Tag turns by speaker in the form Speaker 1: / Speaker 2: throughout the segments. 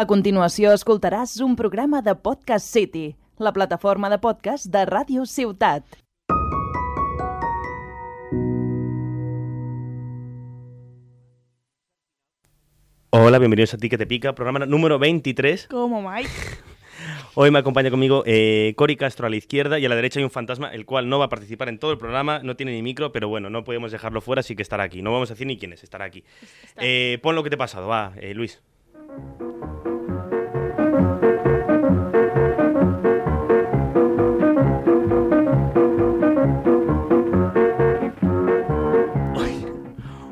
Speaker 1: A continuació escoltaràs un programa de Podcast City, la plataforma de podcast de Ràdio Ciutat.
Speaker 2: Hola, bienvenidos a Ti que te pica, programa número 23.
Speaker 3: Como Mike.
Speaker 2: Hoy me acompaña conmigo eh, Cori Castro a la izquierda y a la derecha hay un fantasma, el cual no va a participar en todo el programa, no tiene ni micro, pero bueno, no podemos dejarlo fuera, así que estará aquí. No vamos a decir ni quién es, estará aquí. Eh, pon lo que te ha pasado, va, eh, Luis.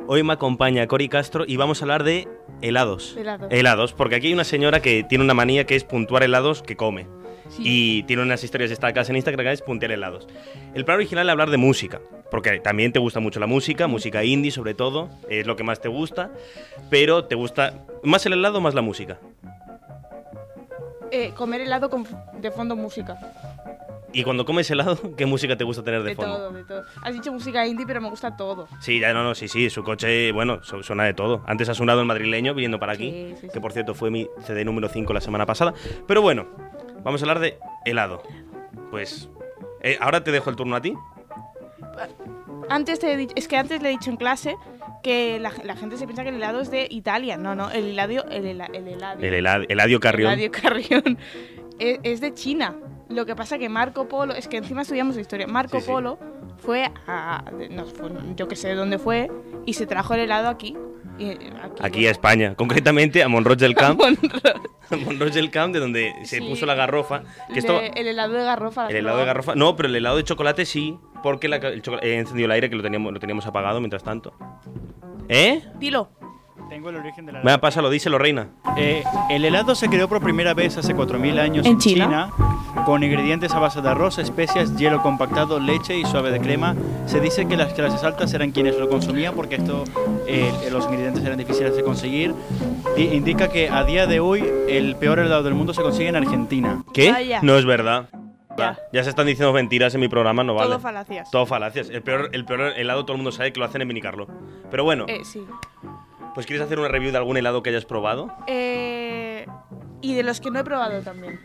Speaker 2: Hoy me acompaña Cori Castro y vamos a hablar de helados.
Speaker 3: Helados.
Speaker 2: porque aquí hay una señora que tiene una manía que es puntuar helados que come.
Speaker 3: Sí.
Speaker 2: Y tiene unas historias destacadas en Instagram que es puntear helados. El plan original era hablar de música, porque también te gusta mucho la música, música indie sobre todo, es lo que más te gusta, pero te gusta más el helado más la música.
Speaker 3: Eh, comer helado con, de fondo música.
Speaker 2: Y cuando comes helado, ¿qué música te gusta tener de,
Speaker 3: De,
Speaker 2: fondo?
Speaker 3: todo, de todo. Has dicho música indie, pero me gusta todo.
Speaker 2: Sí, ya no, no, sí, sí, su coche, bueno, su- suena de todo. Antes ha sonado el madrileño viniendo para aquí,
Speaker 3: Sí, sí,
Speaker 2: que
Speaker 3: sí.
Speaker 2: por cierto fue mi CD número 5 la semana pasada. Pero bueno, vamos a hablar de helado. Pues eh, ahora te dejo el turno a ti.
Speaker 3: Antes te he dicho, es que antes le he dicho en clase que la, la gente se piensa que el helado es de Italia. No, no, el helado. El, hela- el helado.
Speaker 2: El helado, Eladio Carrión.
Speaker 3: Eladio Carrión. Es, es de China. Lo que pasa que Marco Polo, es que encima estudiamos historia. Marco
Speaker 2: Sí, sí.
Speaker 3: Polo fue a. no fue- yo que sé dónde fue y se trajo el helado aquí. y- eh, aquí,
Speaker 2: Aquí a España, concretamente a Monroy del Camp,
Speaker 3: Monroe.
Speaker 2: a Monroy del Camp de donde se
Speaker 3: Sí.
Speaker 2: puso la garrofa, que esto
Speaker 3: Le- el helado de garrofa.
Speaker 2: el helado de garrofa, no, pero el helado de chocolate sí, porque la, el chocolate, he encendido el aire que lo teníamos lo teníamos apagado mientras tanto. ¿Eh?
Speaker 3: Dilo.
Speaker 4: Tengo el origen del helado.
Speaker 2: Venga, pásalo, díselo, reina.
Speaker 4: Eh, el helado se creó por primera vez hace 4.000 años
Speaker 3: ¿En
Speaker 4: en,
Speaker 3: China?
Speaker 4: China? con ingredientes a base de arroz, especias, hielo compactado, leche y suave de crema. Se dice que las clases altas eran quienes lo consumían porque esto, eh, los ingredientes eran difíciles de conseguir. Di- indica que a día de hoy el peor helado del mundo se consigue en Argentina.
Speaker 2: ¿Qué?
Speaker 3: Vaya.
Speaker 2: No es verdad.
Speaker 3: Ya.
Speaker 2: Ya se están diciendo mentiras en mi programa, no vale.
Speaker 3: Todo falacias.
Speaker 2: Todo falacias. El peor, el peor helado todo el mundo sabe que lo hacen en Minicarlo. Pero bueno,
Speaker 3: Eh, sí.
Speaker 2: pues ¿quieres hacer una review de algún helado que hayas probado?
Speaker 3: Eh, y de los que no he probado también.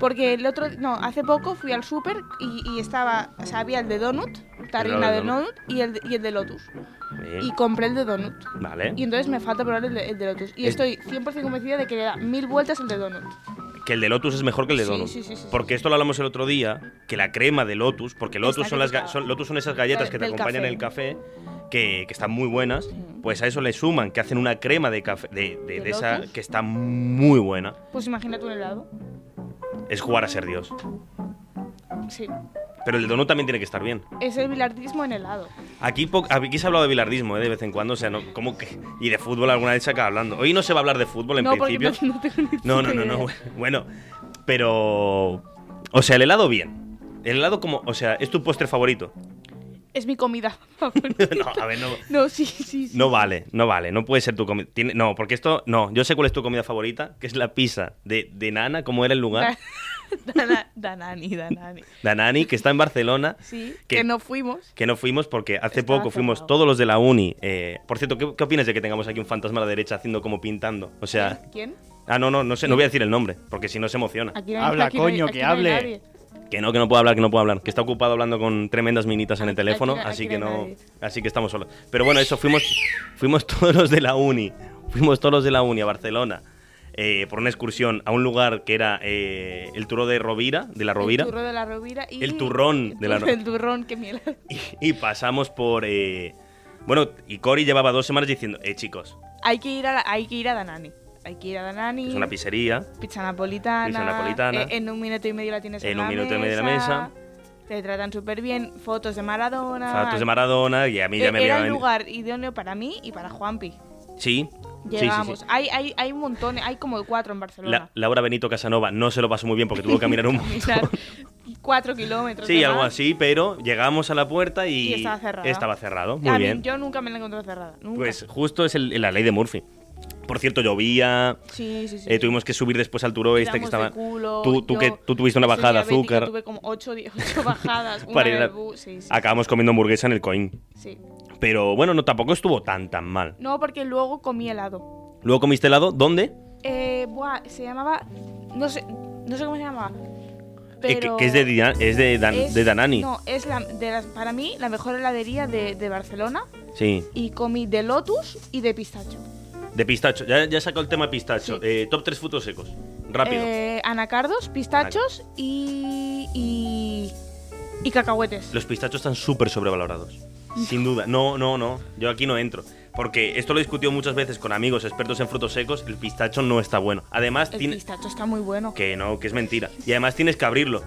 Speaker 3: Porque el otro, no, hace poco fui al súper y, y estaba, o sea, había el de donut, tarrina
Speaker 2: de
Speaker 3: de
Speaker 2: donut.
Speaker 3: donut y el, y el de lotus.
Speaker 2: Bien.
Speaker 3: Y compré el de donut.
Speaker 2: Vale.
Speaker 3: Y entonces me falta probar el de, el de lotus. Y
Speaker 2: Es-
Speaker 3: estoy 100% convencida de que le da mil vueltas el de donut.
Speaker 2: Que el de Lotus es mejor que el de
Speaker 3: Sí,
Speaker 2: Donut.
Speaker 3: sí, sí, sí, sí,
Speaker 2: porque
Speaker 3: sí.
Speaker 2: esto lo hablamos el otro día, que la crema de Lotus, porque Lotus
Speaker 3: Está
Speaker 2: son, las, ga-
Speaker 3: criticada.
Speaker 2: son- Lotus son esas galletas
Speaker 3: Del-
Speaker 2: que te
Speaker 3: del
Speaker 2: acompañan en el café, que, que están muy buenas, pues a eso le suman que hacen una crema de café, de, de-
Speaker 3: ¿De
Speaker 2: de esa,
Speaker 3: Lotus?
Speaker 2: que está muy buena.
Speaker 3: Pues imagínate un helado.
Speaker 2: Es jugar a ser Dios.
Speaker 3: Sí.
Speaker 2: Pero el de Donut también tiene que estar bien.
Speaker 3: Es el bilardismo en helado.
Speaker 2: Aquí, po- aquí se ha hablado de bilardismo, ¿eh? De vez en cuando, o sea, no, como que... Y de fútbol alguna vez se acaba hablando. Hoy no se va a hablar de fútbol, en
Speaker 3: no, porque
Speaker 2: principio.
Speaker 3: no, no tengo ni
Speaker 2: No, no,
Speaker 3: puta
Speaker 2: no, no,
Speaker 3: idea.
Speaker 2: bueno. Pero... O sea, el helado bien. El helado como... O sea, es tu postre favorito.
Speaker 3: Es mi comida favorita.
Speaker 2: no, a ver, no...
Speaker 3: no, sí, sí, sí.
Speaker 2: No vale, no vale, no puede ser tu comida. No, porque esto, no, yo sé cuál es tu comida favorita, que es la pizza de, de Nana, como era el
Speaker 3: Ah.
Speaker 2: lugar,
Speaker 3: Dana- Danani, Danani.
Speaker 2: Danani, que está en Barcelona,
Speaker 3: Sí,
Speaker 2: ¿Qué?
Speaker 3: que no fuimos.
Speaker 2: que no fuimos porque hace
Speaker 3: Estaba
Speaker 2: poco fuimos
Speaker 3: cerrado.
Speaker 2: todos los de la uni. eh, por cierto, ¿qué, qué opinas de que tengamos aquí un fantasma a la derecha haciendo como pintando? O sea,
Speaker 3: ¿Quién?
Speaker 2: Ah, no, no, no sé, no voy a decir el nombre, porque si no se emociona.
Speaker 3: Aquí no
Speaker 4: Habla,
Speaker 3: aquí no hay-
Speaker 4: coño,
Speaker 3: aquí
Speaker 4: que
Speaker 3: no hay
Speaker 4: hable.
Speaker 3: nadie.
Speaker 2: Que no, que no puedo hablar, que no puedo hablar. Que está ocupado hablando con tremendas minitas en el
Speaker 3: Aquí- aquí
Speaker 2: teléfono,
Speaker 3: no- aquí
Speaker 2: así
Speaker 3: no
Speaker 2: que
Speaker 3: hay
Speaker 2: no.
Speaker 3: nadie.
Speaker 2: Así que estamos solos. Pero bueno, eso, fuimos, fuimos todos los de la uni. Fuimos todos los de la uni a Barcelona. eh, por una excursión a un lugar que era eh, el turó de Rovira, de la Rovira.
Speaker 3: El turrón de la Rovira y...
Speaker 2: El turrón de la Ro-
Speaker 3: El turrón, que miel.
Speaker 2: Y, y pasamos por. eh, bueno, y Cory llevaba dos semanas diciendo, eh, chicos,
Speaker 3: Hay que ir a, la- hay que ir a Danani. Hay que ir a Danani.
Speaker 2: es una pizzería.
Speaker 3: Pizza napolitana.
Speaker 2: Pizza napolitana.
Speaker 3: eh, en un minuto y medio la tienes en,
Speaker 2: En
Speaker 3: la
Speaker 2: un minuto y medio en la
Speaker 3: Te tratan súper bien. Fotos de Maradona.
Speaker 2: Fotos de Maradona, y a mí ya
Speaker 3: Eh,
Speaker 2: me
Speaker 3: Ah. Era
Speaker 2: habían-
Speaker 3: el lugar idóneo para mí y para Juanpi.
Speaker 2: Sí. sí, sí, sí.
Speaker 3: Llegamos. Hay, hay, hay un montón, hay como cuatro en Barcelona.
Speaker 2: La- Laura Benito Casanova no se lo pasó muy bien porque tuvo que caminar un montón.
Speaker 3: Caminar cuatro kilómetros.
Speaker 2: Sí,
Speaker 3: de
Speaker 2: algo
Speaker 3: más.
Speaker 2: así, pero llegamos a la puerta y,
Speaker 3: Y estaba cerrada.
Speaker 2: estaba cerrado,
Speaker 3: A
Speaker 2: muy
Speaker 3: mí,
Speaker 2: bien.
Speaker 3: yo nunca me la encontré cerrada. Nunca.
Speaker 2: Pues justo es el- la ley de Murphy. Por cierto, llovía,
Speaker 3: sí, sí, sí.
Speaker 2: eh, tuvimos que subir después al turó este que
Speaker 3: Tiramos
Speaker 2: estaba...
Speaker 3: de culo,
Speaker 2: tú, tú
Speaker 3: yo
Speaker 2: que, tú tuviste una
Speaker 3: soy
Speaker 2: bajada de
Speaker 3: diabética,
Speaker 2: azúcar.
Speaker 3: Tuve como ocho, di- ocho bajadas. una
Speaker 2: Para ir
Speaker 3: en
Speaker 2: a-
Speaker 3: el bus, sí, sí,
Speaker 2: Acabamos comiendo hamburguesa en el coin.
Speaker 3: sí.
Speaker 2: Pero bueno, no tampoco estuvo tan tan mal.
Speaker 3: No, porque luego comí helado.
Speaker 2: Luego comiste helado, ¿dónde?
Speaker 3: Eh, eh, buah, se llamaba. No sé, no sé cómo se llamaba.
Speaker 2: Eh, que-
Speaker 3: Pero
Speaker 2: que es de, Dina- es de, Dan-
Speaker 3: es-
Speaker 2: de Danani.
Speaker 3: No, es la- de las- para mí la mejor heladería de, de Barcelona.
Speaker 2: Sí,
Speaker 3: Y comí de lotus y de pistacho.
Speaker 2: de pistacho. Ya, ya sacó el tema pistacho.
Speaker 3: Sí.
Speaker 2: Eh, top 3 frutos secos. Rápido.
Speaker 3: Eh, anacardos, pistachos y, y. y cacahuetes.
Speaker 2: Los pistachos están súper sobrevalorados. Sin duda. No, no, no. Yo aquí no entro. Porque esto lo he discutido muchas veces con amigos expertos en frutos secos. El pistacho no está bueno. Además,
Speaker 3: El
Speaker 2: tiene.
Speaker 3: pistacho está muy bueno.
Speaker 2: Que no, que es mentira. Y además tienes que abrirlo.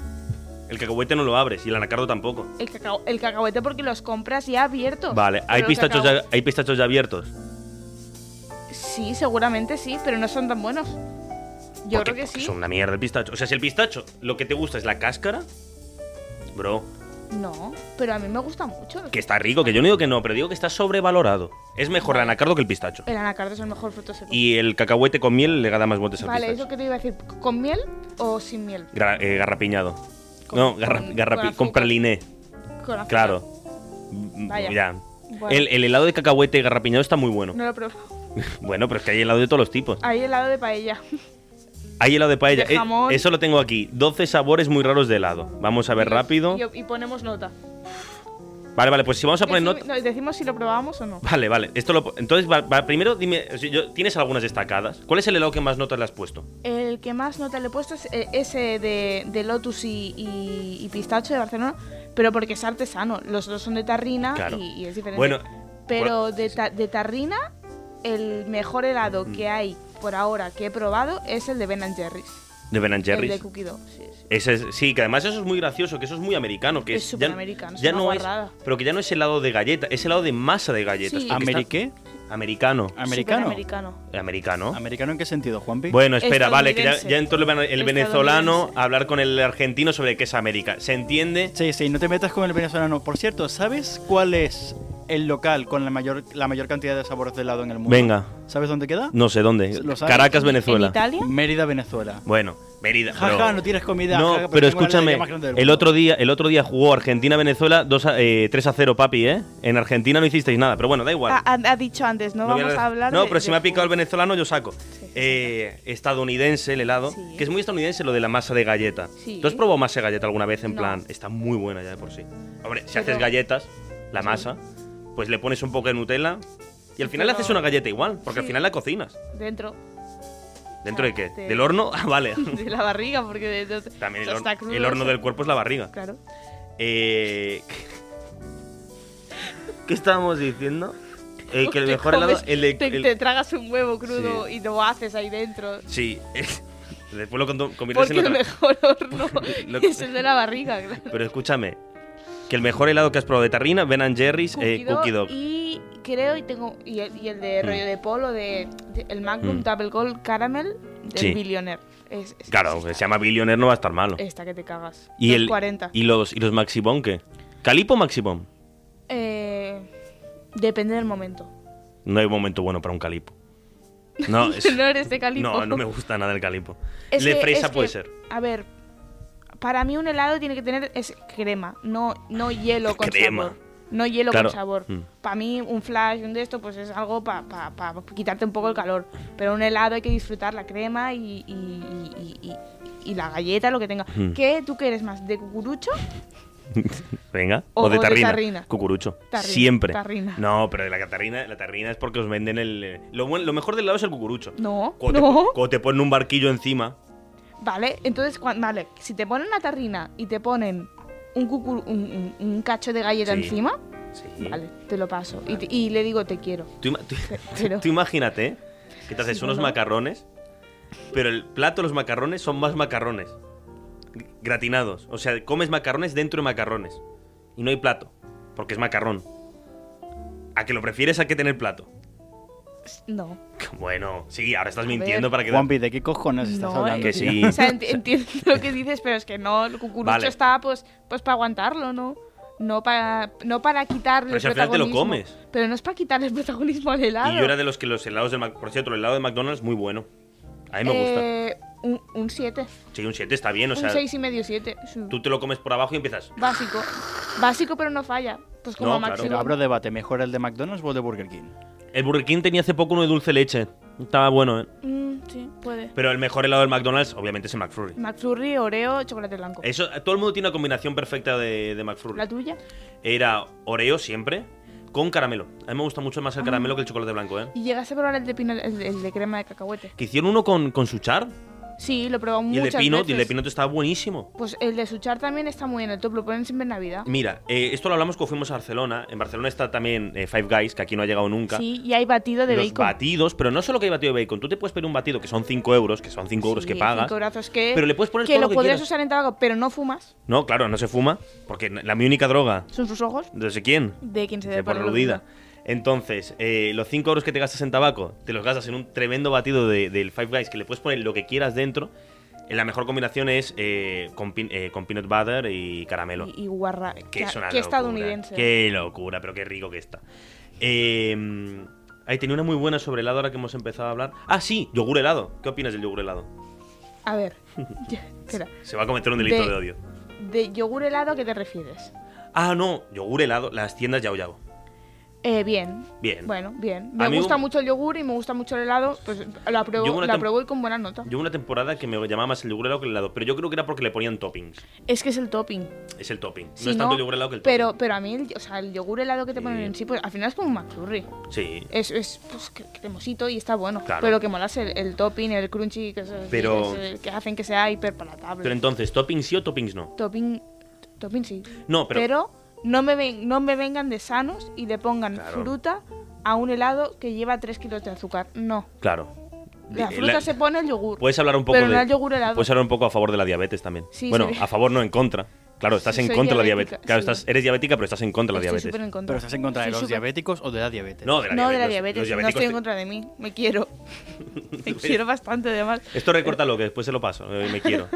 Speaker 2: El cacahuete no lo abres y el anacardo tampoco.
Speaker 3: El, cacao- el cacahuete porque los compras ya abiertos.
Speaker 2: Vale, hay
Speaker 3: Pero
Speaker 2: pistachos,
Speaker 3: cacao-
Speaker 2: ya, hay pistachos ya abiertos.
Speaker 3: Sí, seguramente sí, pero no son tan buenos. Yo
Speaker 2: Porque-
Speaker 3: creo que
Speaker 2: porque
Speaker 3: sí.
Speaker 2: Son una mierda el pistacho. O sea, si el pistacho lo que te gusta es la cáscara, bro,
Speaker 3: No, pero a mí me gusta mucho.
Speaker 2: que está rico, que yo no digo que no, pero digo que está sobrevalorado. Es mejor el anacardo que el pistacho.
Speaker 3: El anacardo es el mejor fruto seco.
Speaker 2: Y el cacahuete con miel le da más botes al
Speaker 3: vale, es lo
Speaker 2: pistacho.
Speaker 3: que te iba a decir. ¿Con miel o sin miel?
Speaker 2: Gra- eh, garrapiñado.
Speaker 3: Con-
Speaker 2: no, garra-
Speaker 3: con-
Speaker 2: garrapi-
Speaker 3: con azúcar.
Speaker 2: con praliné,
Speaker 3: Con azúcar.
Speaker 2: claro. Mm,
Speaker 3: Vaya.
Speaker 2: Ya.
Speaker 3: Bueno,
Speaker 2: El, el helado de cacahuete garrapiñado está muy bueno.
Speaker 3: No lo he probado.
Speaker 2: Bueno, pero es que hay helado de todos los tipos.
Speaker 3: Hay helado de paella.
Speaker 2: Hay helado de paella.
Speaker 3: De
Speaker 2: Eh,
Speaker 3: jamón.
Speaker 2: eso lo tengo aquí. 12 sabores muy raros de helado. Vamos a ver rápido.
Speaker 3: Y, y ponemos nota.
Speaker 2: Vale, vale, pues si vamos a poner
Speaker 3: Decim-
Speaker 2: nota.
Speaker 3: no, decimos si lo probamos o no.
Speaker 2: Vale, vale. Esto lo, po- entonces, va- va, primero dime, o sea, yo- ¿tienes algunas destacadas? ¿Cuál es el helado que más notas le has puesto?
Speaker 3: El que más nota le he puesto es eh, ese de, de Lotus y, y- y Pistacho de Barcelona, pero porque es artesano. Los dos son de tarrina
Speaker 2: Claro.
Speaker 3: y, y es diferente.
Speaker 2: Bueno,
Speaker 3: pero de, ta- de tarrina, el mejor helado que hay por ahora que he probado es el de Ben Jerry's.
Speaker 2: de Ben
Speaker 3: El de
Speaker 2: Jerry's.
Speaker 3: Cookie Dough. Sí, sí.
Speaker 2: Ese es- sí, que además eso es muy gracioso, que eso es muy americano. Que
Speaker 3: Es
Speaker 2: es,
Speaker 3: superamericano, es
Speaker 2: ya
Speaker 3: una
Speaker 2: no es,
Speaker 3: guarrada.
Speaker 2: Pero que ya no es helado de galleta, es helado de masa de galletas.
Speaker 3: Sí.
Speaker 2: porque está-
Speaker 4: ¿Ameriqué? Ah.
Speaker 2: Americano.
Speaker 4: ¿Americano?
Speaker 3: Superamericano.
Speaker 2: Americano.
Speaker 4: ¿Americano en qué sentido, Juanpi?
Speaker 2: Bueno, espera, vale, que ya,
Speaker 3: Estadounidense.
Speaker 2: ya entró el, vene- el
Speaker 3: Estadounidense.
Speaker 2: venezolano a hablar con el argentino sobre qué es América. ¿Se entiende?
Speaker 4: Sí, sí, no te metas con el venezolano. Por cierto, ¿sabes cuál es el local con la mayor, la mayor cantidad de sabores de helado en el mundo?
Speaker 2: Venga.
Speaker 4: ¿Sabes dónde queda?
Speaker 2: No sé dónde.
Speaker 4: Lo sabes.
Speaker 2: Caracas,
Speaker 3: ¿En
Speaker 2: Venezuela.
Speaker 3: Italia?
Speaker 4: Mérida, Venezuela.
Speaker 2: Bueno, Mérida.
Speaker 4: Jaja,
Speaker 2: bro.
Speaker 4: no tienes comida.
Speaker 2: No,
Speaker 4: jaja,
Speaker 2: pero
Speaker 4: tengo la
Speaker 2: escúchame,
Speaker 4: alegría más grande del
Speaker 2: el
Speaker 4: mundo.
Speaker 2: otro día, el otro día jugó Argentina-Venezuela 2 a- eh, 3 a 0, papi, ¿eh? En Argentina no hicisteis nada, pero bueno, da igual.
Speaker 3: Ha, ha- ha dicho antes, no,
Speaker 2: No voy
Speaker 3: vamos a hablar
Speaker 2: No,
Speaker 3: de-
Speaker 2: pero si
Speaker 3: de
Speaker 2: me ha picado el
Speaker 3: fútbol.
Speaker 2: venezolano, yo saco. Eh, estadounidense, el helado,
Speaker 3: Sí.
Speaker 2: que es muy estadounidense lo de la masa de galleta.
Speaker 3: Sí.
Speaker 2: ¿Tú has probado masa de galleta alguna vez? En
Speaker 3: No.
Speaker 2: plan, está muy buena ya de por sí. Hombre, si
Speaker 3: Pero-
Speaker 2: haces galletas, la
Speaker 3: Sí.
Speaker 2: masa, pues le pones un poco de Nutella y al final le
Speaker 3: Pero-
Speaker 2: haces una galleta igual, porque al
Speaker 3: Sí.
Speaker 2: final la cocinas.
Speaker 3: Dentro
Speaker 2: ¿Dentro de qué?
Speaker 3: Te-
Speaker 2: ¿Del horno? Ah, vale.
Speaker 3: de la barriga, porque de- de-
Speaker 2: También el,
Speaker 3: eso
Speaker 2: hor-
Speaker 3: está crudo,
Speaker 2: el horno
Speaker 3: eso.
Speaker 2: del cuerpo es la barriga.
Speaker 3: Claro.
Speaker 2: Eh, ¿Qué estábamos diciendo? Eh, que el
Speaker 3: Te
Speaker 2: mejor helado.
Speaker 3: comes-
Speaker 2: El, de-
Speaker 3: te,
Speaker 2: el-
Speaker 3: te tragas un huevo crudo
Speaker 2: Sí.
Speaker 3: y lo haces ahí dentro.
Speaker 2: Sí, es- después lo conto- conviertes
Speaker 3: Porque
Speaker 2: en
Speaker 3: el
Speaker 2: otra.
Speaker 3: mejor horno
Speaker 2: lo- Eh,
Speaker 3: es el de la barriga, claro.
Speaker 2: Pero escúchame, que el mejor helado que has probado de tarrina, Ben Jerry's, eh, Cookie Dog.
Speaker 3: Y creo, y tengo. Y el, y el de
Speaker 2: Mm.
Speaker 3: rollo de polo, de, de- el Magnum
Speaker 2: Mm.
Speaker 3: Double Gold Caramel del
Speaker 2: Sí.
Speaker 3: Billionaire. Es, es-
Speaker 2: Claro,
Speaker 3: es
Speaker 2: que
Speaker 3: esta,
Speaker 2: se llama Billionaire, no va a estar malo.
Speaker 3: esta que te cagas.
Speaker 2: Y, el,
Speaker 3: 40.
Speaker 2: y los, y los Maxi Bon, ¿qué? ¿Calipo o Maxi Bon?
Speaker 3: Eh, depende del momento.
Speaker 2: No hay momento bueno para un calipo. No, es-
Speaker 3: no eres de calipo.
Speaker 2: no, no me gusta nada el calipo.
Speaker 3: Es
Speaker 2: El de
Speaker 3: que-
Speaker 2: fresa
Speaker 3: es
Speaker 2: puede
Speaker 3: que,
Speaker 2: ser.
Speaker 3: A ver, para mí un helado tiene que tener es crema, no, no hielo con
Speaker 2: Crema.
Speaker 3: sabor. No hielo
Speaker 2: Claro.
Speaker 3: con sabor.
Speaker 2: Mm.
Speaker 3: Para mí un flash, un de esto, pues es algo para quitarte un poco el calor. Pero un helado hay que disfrutar la crema y, y- y- y- y- y la galleta, lo que tenga.
Speaker 2: Mm.
Speaker 3: ¿Qué tú quieres más? ¿De cucurucho?
Speaker 2: Venga,
Speaker 3: O-
Speaker 2: o, de,
Speaker 3: o de
Speaker 2: tarrina.
Speaker 3: tarrina.
Speaker 2: Cucurucho.
Speaker 3: Tarrina,
Speaker 2: Siempre.
Speaker 3: tarrina.
Speaker 2: No, pero de la tarrina, la tarrina es porque os venden el. eh, Lo, buen- lo mejor del helado es el cucurucho.
Speaker 3: No,
Speaker 2: Cuando,
Speaker 3: no.
Speaker 2: Te, pon- cuando te ponen un barquillo encima.
Speaker 3: Vale, entonces, cuan- vale, si te ponen una tarrina y te ponen un, cucur- un, un- un cacho de galleta
Speaker 2: Sí.
Speaker 3: encima,
Speaker 2: Sí.
Speaker 3: vale, te lo paso. Y, te- y le digo, te quiero.
Speaker 2: Tú, ima- tú-
Speaker 3: Pero-
Speaker 2: tú imagínate ¿eh? que te haces
Speaker 3: Sí,
Speaker 2: unos
Speaker 3: ¿no?
Speaker 2: macarrones, pero el plato de los macarrones son más macarrones. gr- Gratinados. O sea, comes macarrones dentro de macarrones. Y no hay plato, porque es macarrón. ¿A que lo prefieres a que tener plato?
Speaker 3: No.
Speaker 2: Bueno, sí, ahora estás
Speaker 3: A
Speaker 2: mintiendo
Speaker 3: ver.
Speaker 2: para que...
Speaker 4: Juanpi, ¿de qué cojones estás
Speaker 3: No,
Speaker 4: hablando?
Speaker 2: Pues Que
Speaker 3: eh,
Speaker 4: tío?
Speaker 2: sí.
Speaker 3: O sea, enti- entiendo lo que dices, pero es que no, el cucurucho
Speaker 2: Vale.
Speaker 3: está pues pues para aguantarlo, ¿no? No para, no para quitarle
Speaker 2: Pero
Speaker 3: el
Speaker 2: si al final te lo
Speaker 3: protagonismo.
Speaker 2: comes.
Speaker 3: Pero no es para quitarle el protagonismo al helado.
Speaker 2: Y yo era de los que los helados de Mac- Por cierto, el helado de McDonald's muy bueno. A mí me gusta.
Speaker 3: Eh, un- Un 7.
Speaker 2: Sí, un 7 está bien, o sea,
Speaker 3: un 6 y medio 7.
Speaker 2: tú te lo comes por abajo y empiezas.
Speaker 3: Básico. Básico, pero no falla. Pues como
Speaker 2: No,
Speaker 3: a máximo.
Speaker 4: Pero abro debate, ¿mejor el de McDonald's o el de Burger King?
Speaker 2: El Burger King tenía hace poco uno de dulce leche. Estaba bueno, ¿eh?
Speaker 3: Mm, sí. sí, puede.
Speaker 2: Pero el mejor helado del McDonald's, obviamente, es el McFlurry.
Speaker 3: McFlurry, Oreo, chocolate blanco.
Speaker 2: Eso, todo el mundo tiene una combinación perfecta de, de McFlurry.
Speaker 3: ¿La tuya?
Speaker 2: Era Oreo siempre con caramelo. A mí me gusta mucho más el caramelo
Speaker 3: Ah.
Speaker 2: que el chocolate blanco, ¿eh?
Speaker 3: ¿Y llegaste a probar el de, pino, el, el de crema de cacahuete?
Speaker 2: Que hicieron uno con, con Suchar
Speaker 3: Sí, lo he probado
Speaker 2: y el de
Speaker 3: muchas
Speaker 2: Pinot,
Speaker 3: veces.
Speaker 2: y el de Pinot está buenísimo.
Speaker 3: Pues el de Suchar también está muy en el top, lo ponen siempre en Navidad.
Speaker 2: Mira, eh, esto lo hablamos cuando fuimos a Barcelona. En Barcelona está también eh, Five Guys, que aquí no ha llegado nunca.
Speaker 3: Sí, y hay batido de
Speaker 2: Los
Speaker 3: bacon.
Speaker 2: batidos, pero no solo que hay batido de bacon. Tú te puedes pedir un batido que son 5 euros, que son 5 euros
Speaker 3: Sí,
Speaker 2: que pagas.
Speaker 3: cinco brazos que,
Speaker 2: Pero le puedes poner
Speaker 3: que
Speaker 2: todo
Speaker 3: lo,
Speaker 2: lo que
Speaker 3: podrías
Speaker 2: quieras.
Speaker 3: usar en tabaco, pero no fumas.
Speaker 2: No, claro, no se fuma, porque la mi única droga,
Speaker 3: Son sus ojos
Speaker 2: no sé quién,
Speaker 3: de quien se
Speaker 2: se
Speaker 3: dé
Speaker 2: por
Speaker 3: por
Speaker 2: aludida. Entonces, eh, los 5 euros que te gastas en tabaco, te los gastas en un tremendo batido de- del Five Guys, que le puedes poner lo que quieras dentro. Eh, La mejor combinación es eh, con, pin- eh, con peanut butter y caramelo.
Speaker 3: Y, y guarra.
Speaker 2: que es una
Speaker 3: que
Speaker 2: locura.
Speaker 3: estadounidense.
Speaker 2: Qué locura, pero qué rico que está. Eh, ahí tenía una muy buena sobre helado ahora que hemos empezado a hablar. Ah, sí, yogur helado. ¿Qué opinas del yogur helado?
Speaker 3: A ver. ya, espera.
Speaker 2: Se va a cometer un delito
Speaker 3: De-
Speaker 2: de odio.
Speaker 3: ¿De yogur helado a qué te refieres?
Speaker 2: Ah, no, yogur helado, las tiendas Yao Yao.
Speaker 3: Eh, bien.
Speaker 2: Bien.
Speaker 3: Bueno, bien. Me
Speaker 2: A mí
Speaker 3: gusta
Speaker 2: un-
Speaker 3: mucho el yogur y me gusta mucho el helado. Pues lo
Speaker 2: Yo
Speaker 3: apruebo,
Speaker 2: una
Speaker 3: lo
Speaker 2: tem-
Speaker 3: apruebo y con buena nota.
Speaker 2: Yo hubo una temporada que me llamaba más el yogur helado que el helado, pero yo creo que era porque le ponían toppings.
Speaker 3: Es que es el topping.
Speaker 2: Es el topping.
Speaker 3: Si
Speaker 2: no es tanto el yogur helado que el
Speaker 3: pero,
Speaker 2: topping.
Speaker 3: pero a mí, el, o sea, el yogur helado que te
Speaker 2: Sí.
Speaker 3: ponen en sí, pues al final es como un McFlurry.
Speaker 2: Sí.
Speaker 3: Es, es pues, cre- cremosito y está bueno.
Speaker 2: Claro.
Speaker 3: Pero lo que mola es el, el topping, el crunchy, que, es- es-
Speaker 2: Pero-
Speaker 3: es el que hacen que sea hiper palatable.
Speaker 2: Pero entonces, ¿toppings sí o toppings no?
Speaker 3: topping, topping sí.
Speaker 2: No, pero.
Speaker 3: Pero, no, me ven- no me vengan de sanos y le pongan
Speaker 2: Claro.
Speaker 3: fruta a un helado que lleva 3 kilos de azúcar. No.
Speaker 2: Claro.
Speaker 3: La
Speaker 2: Eh,
Speaker 3: fruta
Speaker 2: la-
Speaker 3: se pone el yogur.
Speaker 2: Puedes hablar un poco
Speaker 3: Pero
Speaker 2: de.
Speaker 3: no el yogur helado.
Speaker 2: Puedes hablar un poco a favor de la diabetes también.
Speaker 3: Sí,
Speaker 2: bueno,
Speaker 3: sí.
Speaker 2: a favor no en contra. Claro, estás
Speaker 3: Sí,
Speaker 2: en
Speaker 3: soy
Speaker 2: contra de la
Speaker 3: diabética,
Speaker 2: diabetes. Claro,
Speaker 3: sí.
Speaker 2: estás, eres diabética, pero estás en contra de la
Speaker 3: Estoy
Speaker 2: diabetes.
Speaker 3: súper en contra.
Speaker 4: Pero estás en contra de
Speaker 3: Estoy
Speaker 4: los
Speaker 3: súper-
Speaker 4: diabéticos o de la diabetes.
Speaker 2: No, de la
Speaker 3: No,
Speaker 2: diabetes.
Speaker 3: de la
Speaker 2: los-
Speaker 3: diabetes.
Speaker 2: los
Speaker 3: no estoy
Speaker 2: diabéticos
Speaker 3: en
Speaker 2: te-
Speaker 3: contra de mí. Me quiero. me quiero bastante, además.
Speaker 2: Esto recórtalo, que después se lo paso. eh, Me quiero.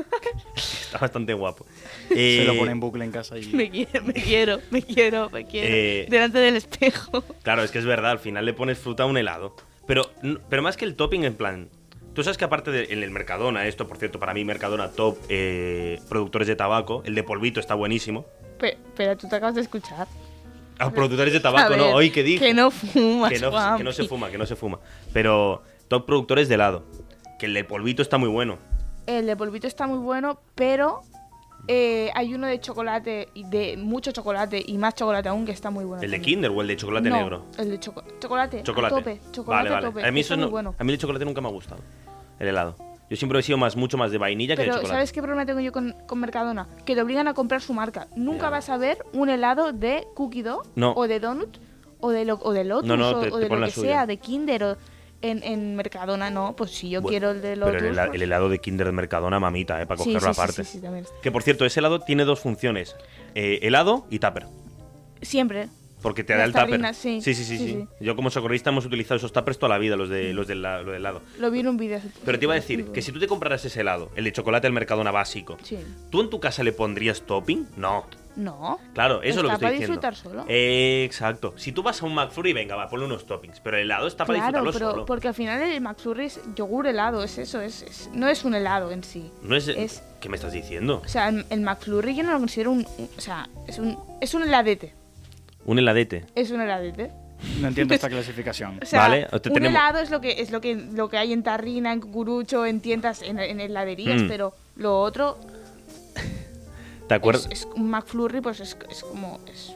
Speaker 2: Está bastante guapo.
Speaker 4: Se lo
Speaker 2: Eh,
Speaker 4: pone en bucle en casa y...
Speaker 3: Me quiero, me quiero, me quiero, me quiero.
Speaker 2: Eh,
Speaker 3: Delante del espejo.
Speaker 2: Claro, es que es verdad, al final le pones fruta a un helado. Pero, n- pero más que el topping, en plan. Tú sabes que aparte de- en el Mercadona, esto por cierto, para mí Mercadona top eh, productores de tabaco, el de polvito está buenísimo.
Speaker 3: Pe- pero tú te acabas de escuchar.
Speaker 2: Ah, productores de
Speaker 3: Mm. A
Speaker 2: tabaco,
Speaker 3: ver,
Speaker 2: no, hoy que dije.
Speaker 3: Que no fumas,
Speaker 2: que no, que no se
Speaker 3: Juanpi.
Speaker 2: fuma, que no se fuma. Pero top productores de helado. Que el de polvito está muy bueno.
Speaker 3: El de polvito está muy bueno, pero eh, hay uno de chocolate, y de mucho chocolate y más chocolate aún que está muy bueno.
Speaker 2: El de
Speaker 3: Ah, también.
Speaker 2: Kinder o el de chocolate
Speaker 3: No,
Speaker 2: negro.
Speaker 3: El de choco- chocolate.
Speaker 2: Chocolate.
Speaker 3: A tope. Chocolate
Speaker 2: vale, vale.
Speaker 3: a tope.
Speaker 2: A mí
Speaker 3: está
Speaker 2: eso
Speaker 3: muy
Speaker 2: no-
Speaker 3: bueno.
Speaker 2: a mí el chocolate nunca me ha gustado. El helado. Yo siempre he sido más mucho más de vainilla que de
Speaker 3: Pero
Speaker 2: chocolate.
Speaker 3: ¿sabes qué problema tengo yo con, con Mercadona? Que te obligan a comprar su marca. Nunca
Speaker 2: Ya.
Speaker 3: vas a ver un helado de Cookie Dough
Speaker 2: No.
Speaker 3: o de Donut o de, lo, o de Lotus
Speaker 2: No, no,
Speaker 3: o,
Speaker 2: te-
Speaker 3: o
Speaker 2: te
Speaker 3: de
Speaker 2: ponen la
Speaker 3: lo que
Speaker 2: suya.
Speaker 3: sea, de Kinder o en, en Mercadona. No, pues si yo
Speaker 2: Bueno,
Speaker 3: quiero el de Lotus...
Speaker 2: Pero el, hela-
Speaker 3: pues-
Speaker 2: el helado de Kinder de Mercadona, mamita, eh, para
Speaker 3: Sí,
Speaker 2: cogerlo
Speaker 3: sí, sí,
Speaker 2: aparte.
Speaker 3: sí, sí, también está.
Speaker 2: Que por cierto, ese helado tiene dos funciones: eh, helado y tupper.
Speaker 3: Siempre.
Speaker 2: Porque te da
Speaker 3: Las
Speaker 2: el tupper.
Speaker 3: tarrinas, sí.
Speaker 2: Sí sí, sí,
Speaker 3: Sí,
Speaker 2: sí.
Speaker 3: sí. Mm.
Speaker 2: Yo como socorrista hemos utilizado esos tuppers toda la vida, los de los del la- lo del helado.
Speaker 3: Lo vi en un vídeo hace poco.
Speaker 2: Pero te iba a decir que si tú te compraras ese helado, el de chocolate del Mercadona básico,
Speaker 3: Sí.
Speaker 2: ¿tú en tu casa le pondrías topping? No.
Speaker 3: No.
Speaker 2: Claro, eso es lo que estoy
Speaker 3: Está para
Speaker 2: diciendo.
Speaker 3: disfrutar solo.
Speaker 2: Eh, exacto. Si tú vas a un McFlurry, venga, va, ponle unos toppings. Pero el helado está para
Speaker 3: Claro,
Speaker 2: disfrutarlo
Speaker 3: pero
Speaker 2: solo.
Speaker 3: porque al final el McFlurry es yogur helado, es eso, es, es- no es un helado en sí.
Speaker 2: No es,
Speaker 3: es-
Speaker 2: ¿Qué me estás diciendo?
Speaker 3: O sea, el, el McFlurry yo no lo considero un, un- o sea, es un es un heladete,
Speaker 2: Un heladete.
Speaker 3: es un heladete.
Speaker 4: No entiendo esta clasificación.
Speaker 3: O sea,
Speaker 2: Vale, o
Speaker 3: un
Speaker 2: te tenemos-
Speaker 3: helado es lo que es lo que lo que hay en tarrina, en cucurucho, en tiendas, en, en heladerías,
Speaker 2: Mm.
Speaker 3: pero lo otro
Speaker 2: ¿Te
Speaker 3: es,
Speaker 2: acuerdas?
Speaker 3: es un McFlurry, pues es, es como es,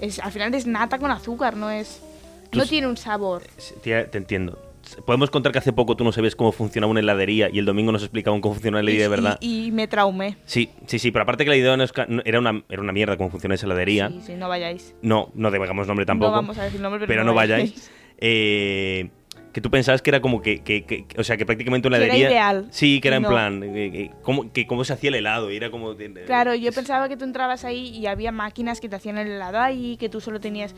Speaker 3: es- al final es nata con azúcar, no es
Speaker 2: Tú
Speaker 3: no
Speaker 2: s-
Speaker 3: tiene un sabor.
Speaker 2: Sí, tía, te entiendo. Podemos contar que hace poco tú no sabías cómo funcionaba una heladería y el domingo nos explicaban cómo funcionaba la
Speaker 3: Y-
Speaker 2: heladería de
Speaker 3: y-
Speaker 2: verdad.
Speaker 3: y me traumé.
Speaker 2: Sí, sí, sí, pero aparte que la idea no es ca- no- era, una, era una mierda cómo funciona esa heladería.
Speaker 3: Sí, sí, no vayáis.
Speaker 2: No, no digamos nombre tampoco.
Speaker 3: No vamos a decir nombre, pero,
Speaker 2: pero, no vayáis. Eh, que tú pensabas que era como que, que- que- o sea, que prácticamente una
Speaker 3: Que era
Speaker 2: heladería.
Speaker 3: ideal.
Speaker 2: Sí, que era en
Speaker 3: No.
Speaker 2: plan, eh, eh, cómo, que cómo se hacía el helado. Y era como. de- de-
Speaker 3: Claro, yo
Speaker 2: es-
Speaker 3: pensaba que tú entrabas ahí y había máquinas que te hacían el helado ahí, que tú solo tenías...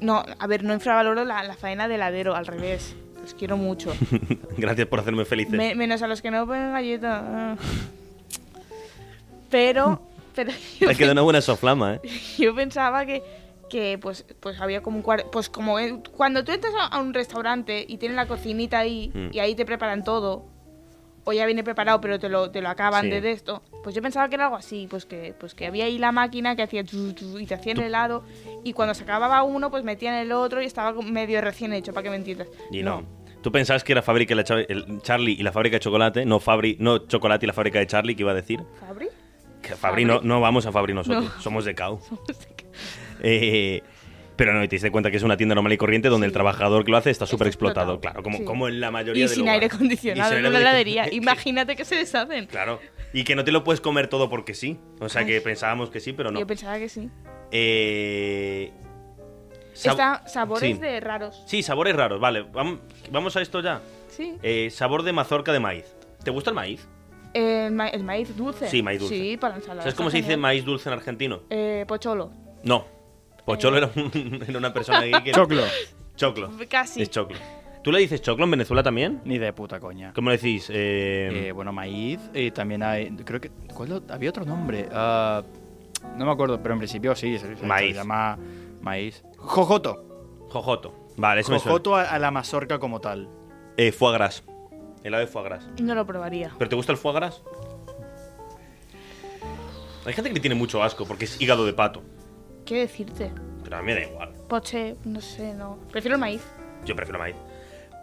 Speaker 3: No, a ver, no infravaloro la, la faena de heladero, al revés. Los quiero mucho.
Speaker 2: Gracias por hacerme feliz.
Speaker 3: Me- menos a los que no ponen galletas. ah. Pero, pero yo,
Speaker 2: Te quedó una buena soflama, ¿eh?
Speaker 3: yo pensaba que, que pues, pues había como un cuar- Pues como en- cuando tú entras a, a un restaurante y tienen la cocinita ahí
Speaker 2: Mm.
Speaker 3: y ahí te preparan todo, o ya viene preparado pero te lo, te lo acaban
Speaker 2: Sí.
Speaker 3: de, de esto, pues yo pensaba que era algo así, pues que, pues que había ahí la máquina que hacía chu, chu, y te hacían el helado y cuando se acababa uno pues metían el otro y estaba como medio recién hecho, para que me entiendas.
Speaker 2: Y no. Tú pensabas que era Fabri que la Chav- el Charlie y la fábrica de chocolate, no Fabri, no chocolate y la fábrica de Charlie, que iba a decir.
Speaker 3: ¿Fabri?
Speaker 2: Que Fabri, no, no vamos a Fabri nosotros,
Speaker 3: No.
Speaker 2: somos de CAU. Eh, pero no, y te diste cuenta que es una tienda normal y corriente donde el trabajador que lo hace está súper explotado,
Speaker 3: explotado,
Speaker 2: claro, como,
Speaker 3: sí.
Speaker 2: como en la mayoría
Speaker 3: Y
Speaker 2: de
Speaker 3: sin
Speaker 2: lugares.
Speaker 3: aire acondicionado
Speaker 2: Y sin
Speaker 3: en
Speaker 2: aire
Speaker 3: una
Speaker 2: acondicionado.
Speaker 3: heladería. Imagínate que se deshacen.
Speaker 2: Claro. Y que no te lo puedes comer todo porque sí. O sea, que pensábamos que sí, pero no.
Speaker 3: Yo pensaba que sí.
Speaker 2: Eh, sab-
Speaker 3: Está sabores
Speaker 2: sí.
Speaker 3: de raros.
Speaker 2: Sí, sabores raros. Vale, vam- vamos a esto ya.
Speaker 3: Sí.
Speaker 2: Eh, sabor de mazorca de maíz. ¿Te gusta el maíz?
Speaker 3: El, Eh, ma- el maíz dulce.
Speaker 2: Sí, maíz dulce.
Speaker 3: Sí, para ensalada.
Speaker 2: ¿Sabes cómo se dice maíz dulce en argentino?
Speaker 3: Eh, pocholo.
Speaker 2: No. Pocholo
Speaker 3: Eh.
Speaker 2: era, un- era una persona ahí que...
Speaker 4: Choclo.
Speaker 2: Choclo.
Speaker 3: Casi.
Speaker 2: Es choclo. ¿Tú le dices choclo en Venezuela también?
Speaker 4: Ni de puta coña.
Speaker 2: ¿Cómo le decís? Eh,
Speaker 4: Eh, bueno, maíz. eh, también hay. Creo que. ¿cuál lo- había otro nombre. Ah, no me acuerdo, pero en principio sí. Se, se- se
Speaker 2: Maíz.
Speaker 4: llama maíz. Jojoto.
Speaker 2: jojoto. Vale, eso me suena.
Speaker 4: Jojoto a, a la mazorca como tal.
Speaker 2: Eh, foie gras. Helado de foie gras.
Speaker 3: No lo probaría.
Speaker 2: ¿Pero te gusta el foie gras? Hay gente que le tiene mucho asco porque es hígado de pato.
Speaker 3: ¿Qué decirte?
Speaker 2: Pero a mí me da igual.
Speaker 3: Poche, no sé, no. Prefiero el maíz.
Speaker 2: Yo prefiero maíz.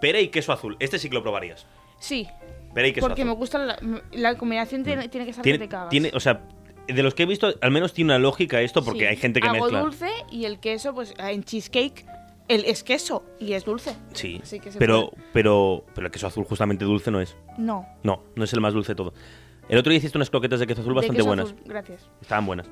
Speaker 2: Pera y queso azul. Este sí que lo probarías.
Speaker 3: Sí.
Speaker 2: Pera y queso
Speaker 3: Porque me
Speaker 2: azul.
Speaker 3: gusta la, la combinación tiene, tiene que estar que
Speaker 2: Mm. Tiene,
Speaker 3: te cagas.
Speaker 2: tiene- o sea, de los que he visto, al menos tiene una lógica esto porque
Speaker 3: Sí.
Speaker 2: hay gente que
Speaker 3: Hago
Speaker 2: mezcla.
Speaker 3: dulce y el queso, pues en cheesecake, el es queso y es dulce.
Speaker 2: Sí,
Speaker 3: Así que se
Speaker 2: pero, pero, pero el queso azul justamente dulce no es.
Speaker 3: No.
Speaker 2: No, no es el más dulce de todo. El otro día hiciste unas croquetas de queso azul
Speaker 3: de
Speaker 2: bastante
Speaker 3: queso
Speaker 2: buenas.
Speaker 3: azul, Gracias.
Speaker 2: Estaban buenas.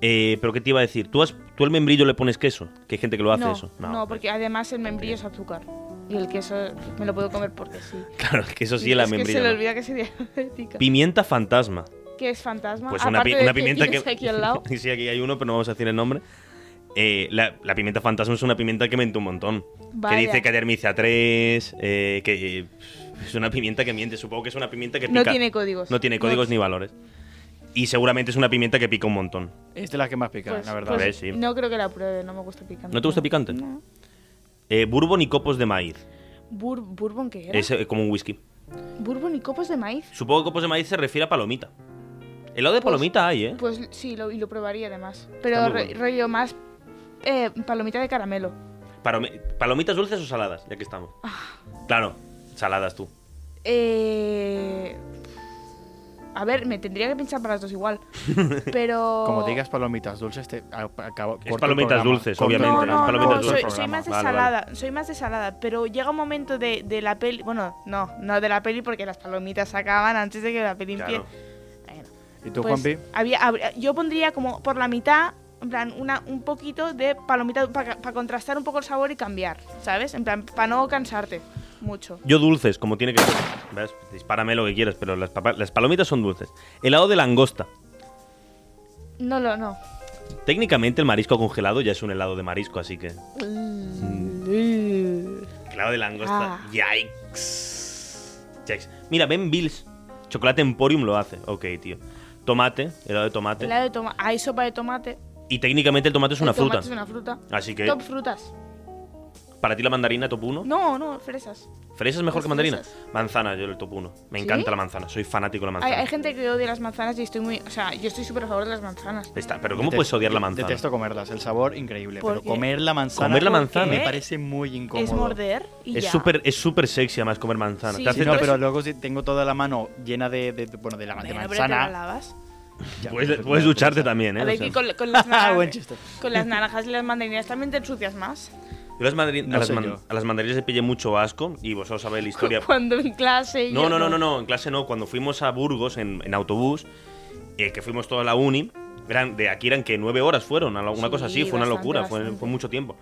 Speaker 2: Eh, pero ¿qué te iba a decir? ¿Tú, has, ¿Tú al membrillo le pones queso? Que hay gente que lo hace
Speaker 3: no,
Speaker 2: eso.
Speaker 3: No, porque además el membrillo es azúcar. Y el queso me lo puedo comer porque sí.
Speaker 2: Claro, que eso sí, la
Speaker 3: es que
Speaker 2: membrillo.
Speaker 3: se le
Speaker 2: no.
Speaker 3: olvida que soy diabética.
Speaker 2: Pimienta fantasma.
Speaker 3: que es fantasma.
Speaker 2: Pues una, pi-
Speaker 3: aparte de
Speaker 2: una pimienta que.
Speaker 3: tienes aquí al lado.
Speaker 2: sí, aquí hay uno, pero no vamos a decir el nombre. Eh, la, la pimienta fantasma es una pimienta que miente un montón.
Speaker 3: Vaya.
Speaker 2: Que dice que hay hermicia 3, eh, que eh, es una pimienta que miente. Supongo que es una pimienta que
Speaker 3: No
Speaker 2: pica.
Speaker 3: tiene códigos.
Speaker 2: No tiene códigos ni valores. Y seguramente es una pimienta que pica un montón.
Speaker 4: Es de las que más pica,
Speaker 3: Pues-
Speaker 4: la verdad.
Speaker 3: pues
Speaker 2: A ver, ¿eh? sí.
Speaker 3: No creo que la pruebe, no me gusta picante.
Speaker 2: ¿No te gusta picante?
Speaker 3: No.
Speaker 2: Eh, bourbon y copos de maíz.
Speaker 3: Bur- ¿Bourbon qué era?
Speaker 2: Es eh, como un whisky.
Speaker 3: ¿Bourbon y copos de maíz?
Speaker 2: Supongo que copos de maíz se refiere a palomita. Helado de
Speaker 3: Pues-
Speaker 2: palomita hay, ¿eh?
Speaker 3: Pues sí, lo, y lo probaría además.
Speaker 2: Está
Speaker 3: Pero
Speaker 2: muy
Speaker 3: re-
Speaker 2: bueno.
Speaker 3: rollo más eh, palomita de caramelo.
Speaker 2: Parome- ¿Palomitas dulces o saladas? Ya que estamos.
Speaker 3: Ah.
Speaker 2: Claro, saladas tú.
Speaker 3: Eh... A ver, me tendría que pensar para las dos igual. Pero...
Speaker 4: Como digas palomitas dulces, te a- acabo. corto el
Speaker 2: palomitas
Speaker 4: programa.
Speaker 2: dulces,
Speaker 4: Corto el
Speaker 2: obviamente,
Speaker 3: No,
Speaker 2: las
Speaker 4: programa,
Speaker 3: no,
Speaker 2: palomitas
Speaker 3: no,
Speaker 4: corto
Speaker 2: dulces.
Speaker 4: el
Speaker 3: soy, soy
Speaker 4: programa.
Speaker 3: más de
Speaker 2: Vale, vale.
Speaker 3: salada, soy más de salada, pero llega un momento de, de la peli, bueno, no, no de la peli porque las palomitas se acaban antes de que la peli
Speaker 2: Claro.
Speaker 3: empiece. Bueno,
Speaker 4: ¿Y tú,
Speaker 3: pues,
Speaker 4: Juanpi?
Speaker 3: había- habría- yo pondría como por la mitad, en plan, una, un poquito de palomita para contrastar un poco el sabor y cambiar, ¿sabes? En plan, para no cansarte mucho.
Speaker 2: Yo dulces, como tiene que ser. ¿Ves? Dispárame lo que quieras, pero las, papa- las palomitas son dulces. Helado de langosta.
Speaker 3: No, no, no.
Speaker 2: Técnicamente el marisco congelado ya es un helado de marisco, así que... Helado de langosta.
Speaker 3: Mm. Ah.
Speaker 2: Yikes. Yikes. Mira, Ben Bills. Chocolate Emporium lo hace. Ok, tío. Tomate, helado de tomate.
Speaker 3: Helado de tomate, hay sopa de tomate.
Speaker 2: Y técnicamente el tomate ¿Eh? es una
Speaker 3: el tomate
Speaker 2: fruta.
Speaker 3: Es una fruta.
Speaker 2: Así que,
Speaker 3: Top frutas.
Speaker 2: para ti la mandarina top 1.
Speaker 3: No, no, fresas.
Speaker 2: ¿Fresa es mejor
Speaker 3: Las
Speaker 2: que mandarina?
Speaker 3: fresas.
Speaker 2: Manzana, yo el top 1. Me
Speaker 3: ¿Sí?
Speaker 2: encanta la manzana, soy fanático de la
Speaker 3: Hay,
Speaker 2: manzana.
Speaker 3: hay gente que odia las manzanas y estoy muy. O sea, yo estoy súper a favor de las manzanas.
Speaker 2: Está, pero ¿cómo
Speaker 4: Detesto-
Speaker 2: puedes odiar la manzana?
Speaker 4: Detesto comerlas, el sabor increíble.
Speaker 3: ¿Por
Speaker 4: Pero
Speaker 3: qué?
Speaker 4: comer la manzana.
Speaker 2: Comer la
Speaker 4: ¿por
Speaker 2: manzana.
Speaker 4: qué? Me parece muy incómodo.
Speaker 3: Es morder y
Speaker 2: Es
Speaker 3: ya.
Speaker 2: súper es súper sexy además comer manzana. Te
Speaker 3: Sí.
Speaker 4: Sí,
Speaker 2: hace
Speaker 4: no,
Speaker 2: tres-
Speaker 4: pero luego si tengo toda la mano llena de, de- de- bueno, de la de
Speaker 3: Bueno, pero te la
Speaker 4: manzana.
Speaker 3: lavas.
Speaker 4: Ya,
Speaker 2: puedes,
Speaker 4: pero-
Speaker 2: puedes
Speaker 4: pero-
Speaker 2: ducharte también, ¿eh?
Speaker 3: A
Speaker 2: O
Speaker 3: ver,
Speaker 2: sea,
Speaker 3: que con, con las
Speaker 4: Ah, buen
Speaker 3: naranjas,
Speaker 4: chiste.
Speaker 3: con las naranjas y las mandarinas también te ensucias más.
Speaker 2: yo las mandarin-
Speaker 4: No
Speaker 2: a, las
Speaker 4: sé
Speaker 2: man-
Speaker 4: yo.
Speaker 2: a las mandarinas le pillé mucho asco y vosotros sabéis la historia.
Speaker 3: Cuando en clase. y
Speaker 2: No,
Speaker 3: yo-
Speaker 2: no, no, no, no, en clase no. Cuando fuimos a Burgos en, en autobús, eh, que fuimos toda la uni, eran, de aquí eran que nueve horas fueron, una una
Speaker 3: Sí,
Speaker 2: cosa así, fue una
Speaker 3: bastante,
Speaker 2: locura, fue,
Speaker 3: bastante.
Speaker 2: fue mucho tiempo.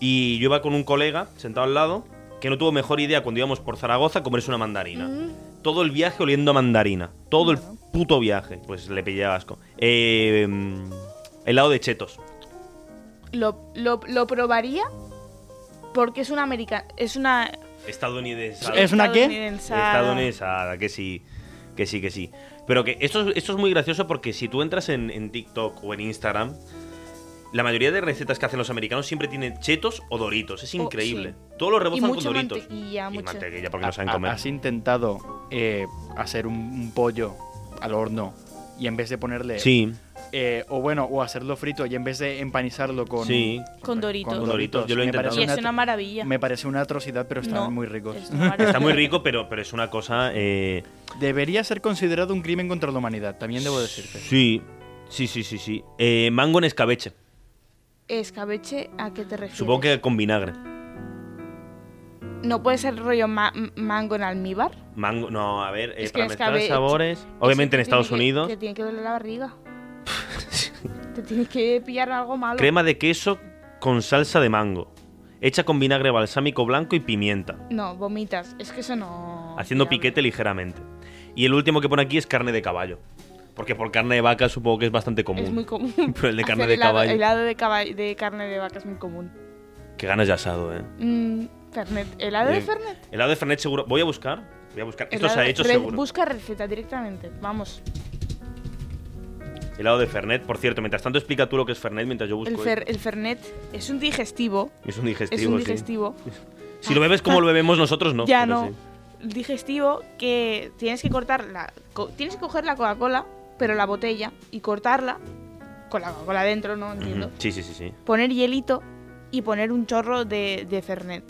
Speaker 2: Y yo iba con un colega sentado al lado que no tuvo mejor idea cuando íbamos por Zaragoza comerse una mandarina.
Speaker 3: Mm.
Speaker 2: Todo el viaje oliendo a mandarina. Todo
Speaker 3: Claro.
Speaker 2: el puto viaje. Pues le pillé asco. Eh, mm, helado de chetos.
Speaker 3: Lo, lo, lo probaría porque es una americana. Es una.
Speaker 2: Estadounidense.
Speaker 4: ¿Es una qué?
Speaker 3: estadounidensada.
Speaker 2: Estadounidense, ah, que sí, que sí, que sí. Pero que esto, es- esto es muy gracioso porque si tú entras en, en TikTok o en Instagram, la mayoría de recetas que hacen los americanos siempre tienen chetos o doritos. Es
Speaker 3: Oh,
Speaker 2: increíble.
Speaker 3: sí.
Speaker 2: Todos los
Speaker 3: Y
Speaker 2: rebozan con
Speaker 3: mucho
Speaker 2: doritos.
Speaker 3: mantequilla,
Speaker 2: y
Speaker 3: mucho.
Speaker 2: mantequilla porque no
Speaker 4: Ha-
Speaker 2: saben
Speaker 4: ha-
Speaker 2: comer.
Speaker 4: Has intentado eh, hacer un, un pollo al horno y en vez de ponerle
Speaker 2: Sí,
Speaker 4: eh, o bueno, o hacerlo frito y en vez de empanizarlo con,
Speaker 2: Sí,
Speaker 3: Con Doritos.
Speaker 2: Con Doritos, yo lo he
Speaker 4: Me parece
Speaker 2: intentado.
Speaker 3: Y
Speaker 4: una
Speaker 3: es una
Speaker 4: atro-
Speaker 3: maravilla.
Speaker 4: Me parece una atrocidad, pero están
Speaker 3: No,
Speaker 4: muy ricos.
Speaker 3: es una maravilla.
Speaker 2: está muy rico, pero, pero es una cosa... eh,
Speaker 4: Debería ser considerado un crimen contra la humanidad, también debo decirte.
Speaker 2: sí, sí, sí, sí. sí. Eh, mango en escabeche.
Speaker 3: Escabeche, ¿a qué te refieres?
Speaker 2: Supongo que con vinagre.
Speaker 3: ¿No puede ser rollo ma- m- mango en almíbar?
Speaker 2: Mango, no, a ver, eh,
Speaker 3: Es que
Speaker 2: para mezclar
Speaker 3: escabeche-
Speaker 2: sabores. Obviamente en
Speaker 3: Eso te
Speaker 2: Estados
Speaker 3: tiene que-
Speaker 2: Unidos.
Speaker 3: Te tiene que doler la barriga. te tienes que pillar algo malo.
Speaker 2: Crema de queso con salsa de mango. Hecha con vinagre balsámico blanco y pimienta.
Speaker 3: No, vomitas. Es que eso no.
Speaker 2: Haciendo
Speaker 3: viable.
Speaker 2: piquete ligeramente. Y el último que pone aquí es carne de caballo. Porque por carne de vaca supongo que es bastante común.
Speaker 3: Es muy común.
Speaker 2: Pero el de carne
Speaker 3: Hacer
Speaker 2: de
Speaker 3: helado-
Speaker 2: caballo.
Speaker 3: Helado de, caballo, de carne de vaca es muy común.
Speaker 2: Qué ganas de asado, eh.
Speaker 3: Mm, Fernet. ¿Helado de
Speaker 2: Bien.
Speaker 3: Fernet?
Speaker 2: Helado de Fernet seguro. Voy a buscar. Voy a buscar. Eh, Esto
Speaker 3: Helado-
Speaker 2: se ha hecho
Speaker 3: re-
Speaker 2: seguro.
Speaker 3: Busca receta directamente. Vamos.
Speaker 2: Helado de Fernet. Por cierto, mientras tanto explica tú lo que es Fernet mientras yo busco.
Speaker 3: El, fer- el Fernet es un digestivo.
Speaker 2: esto. Es un digestivo.
Speaker 3: es un
Speaker 2: sí.
Speaker 3: digestivo. Ah.
Speaker 2: Si lo bebes como lo bebemos nosotros, no.
Speaker 3: ya
Speaker 2: pero
Speaker 3: no.
Speaker 2: sí.
Speaker 3: El digestivo que tienes que cortar la. co- tienes que coger la Coca-Cola, pero la botella, y cortarla. Con la Coca-Cola dentro, ¿no? Entiendo.
Speaker 2: Ujú. sí, sí, sí, sí.
Speaker 3: poner hielito y poner un chorro de, de Fernet.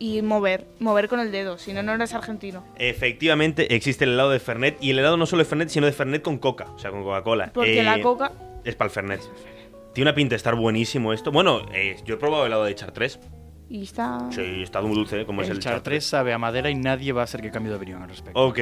Speaker 3: Y mover, mover con el dedo, si no, no eres argentino.
Speaker 2: Efectivamente, existe el helado de Fernet. Y el helado no solo de Fernet, sino de Fernet con coca. O sea, con Coca-Cola.
Speaker 3: Porque
Speaker 2: Eh,
Speaker 3: la coca.
Speaker 2: Es para el Fernet. Tiene una pinta de estar buenísimo esto. Bueno, eh, yo he probado helado de Chartres.
Speaker 3: Y está.
Speaker 2: Sí, está muy dulce, ¿eh? como es
Speaker 4: el
Speaker 2: el
Speaker 4: chartres sabe a madera y nadie va a hacer que cambie de opinión al respecto.
Speaker 2: Ok,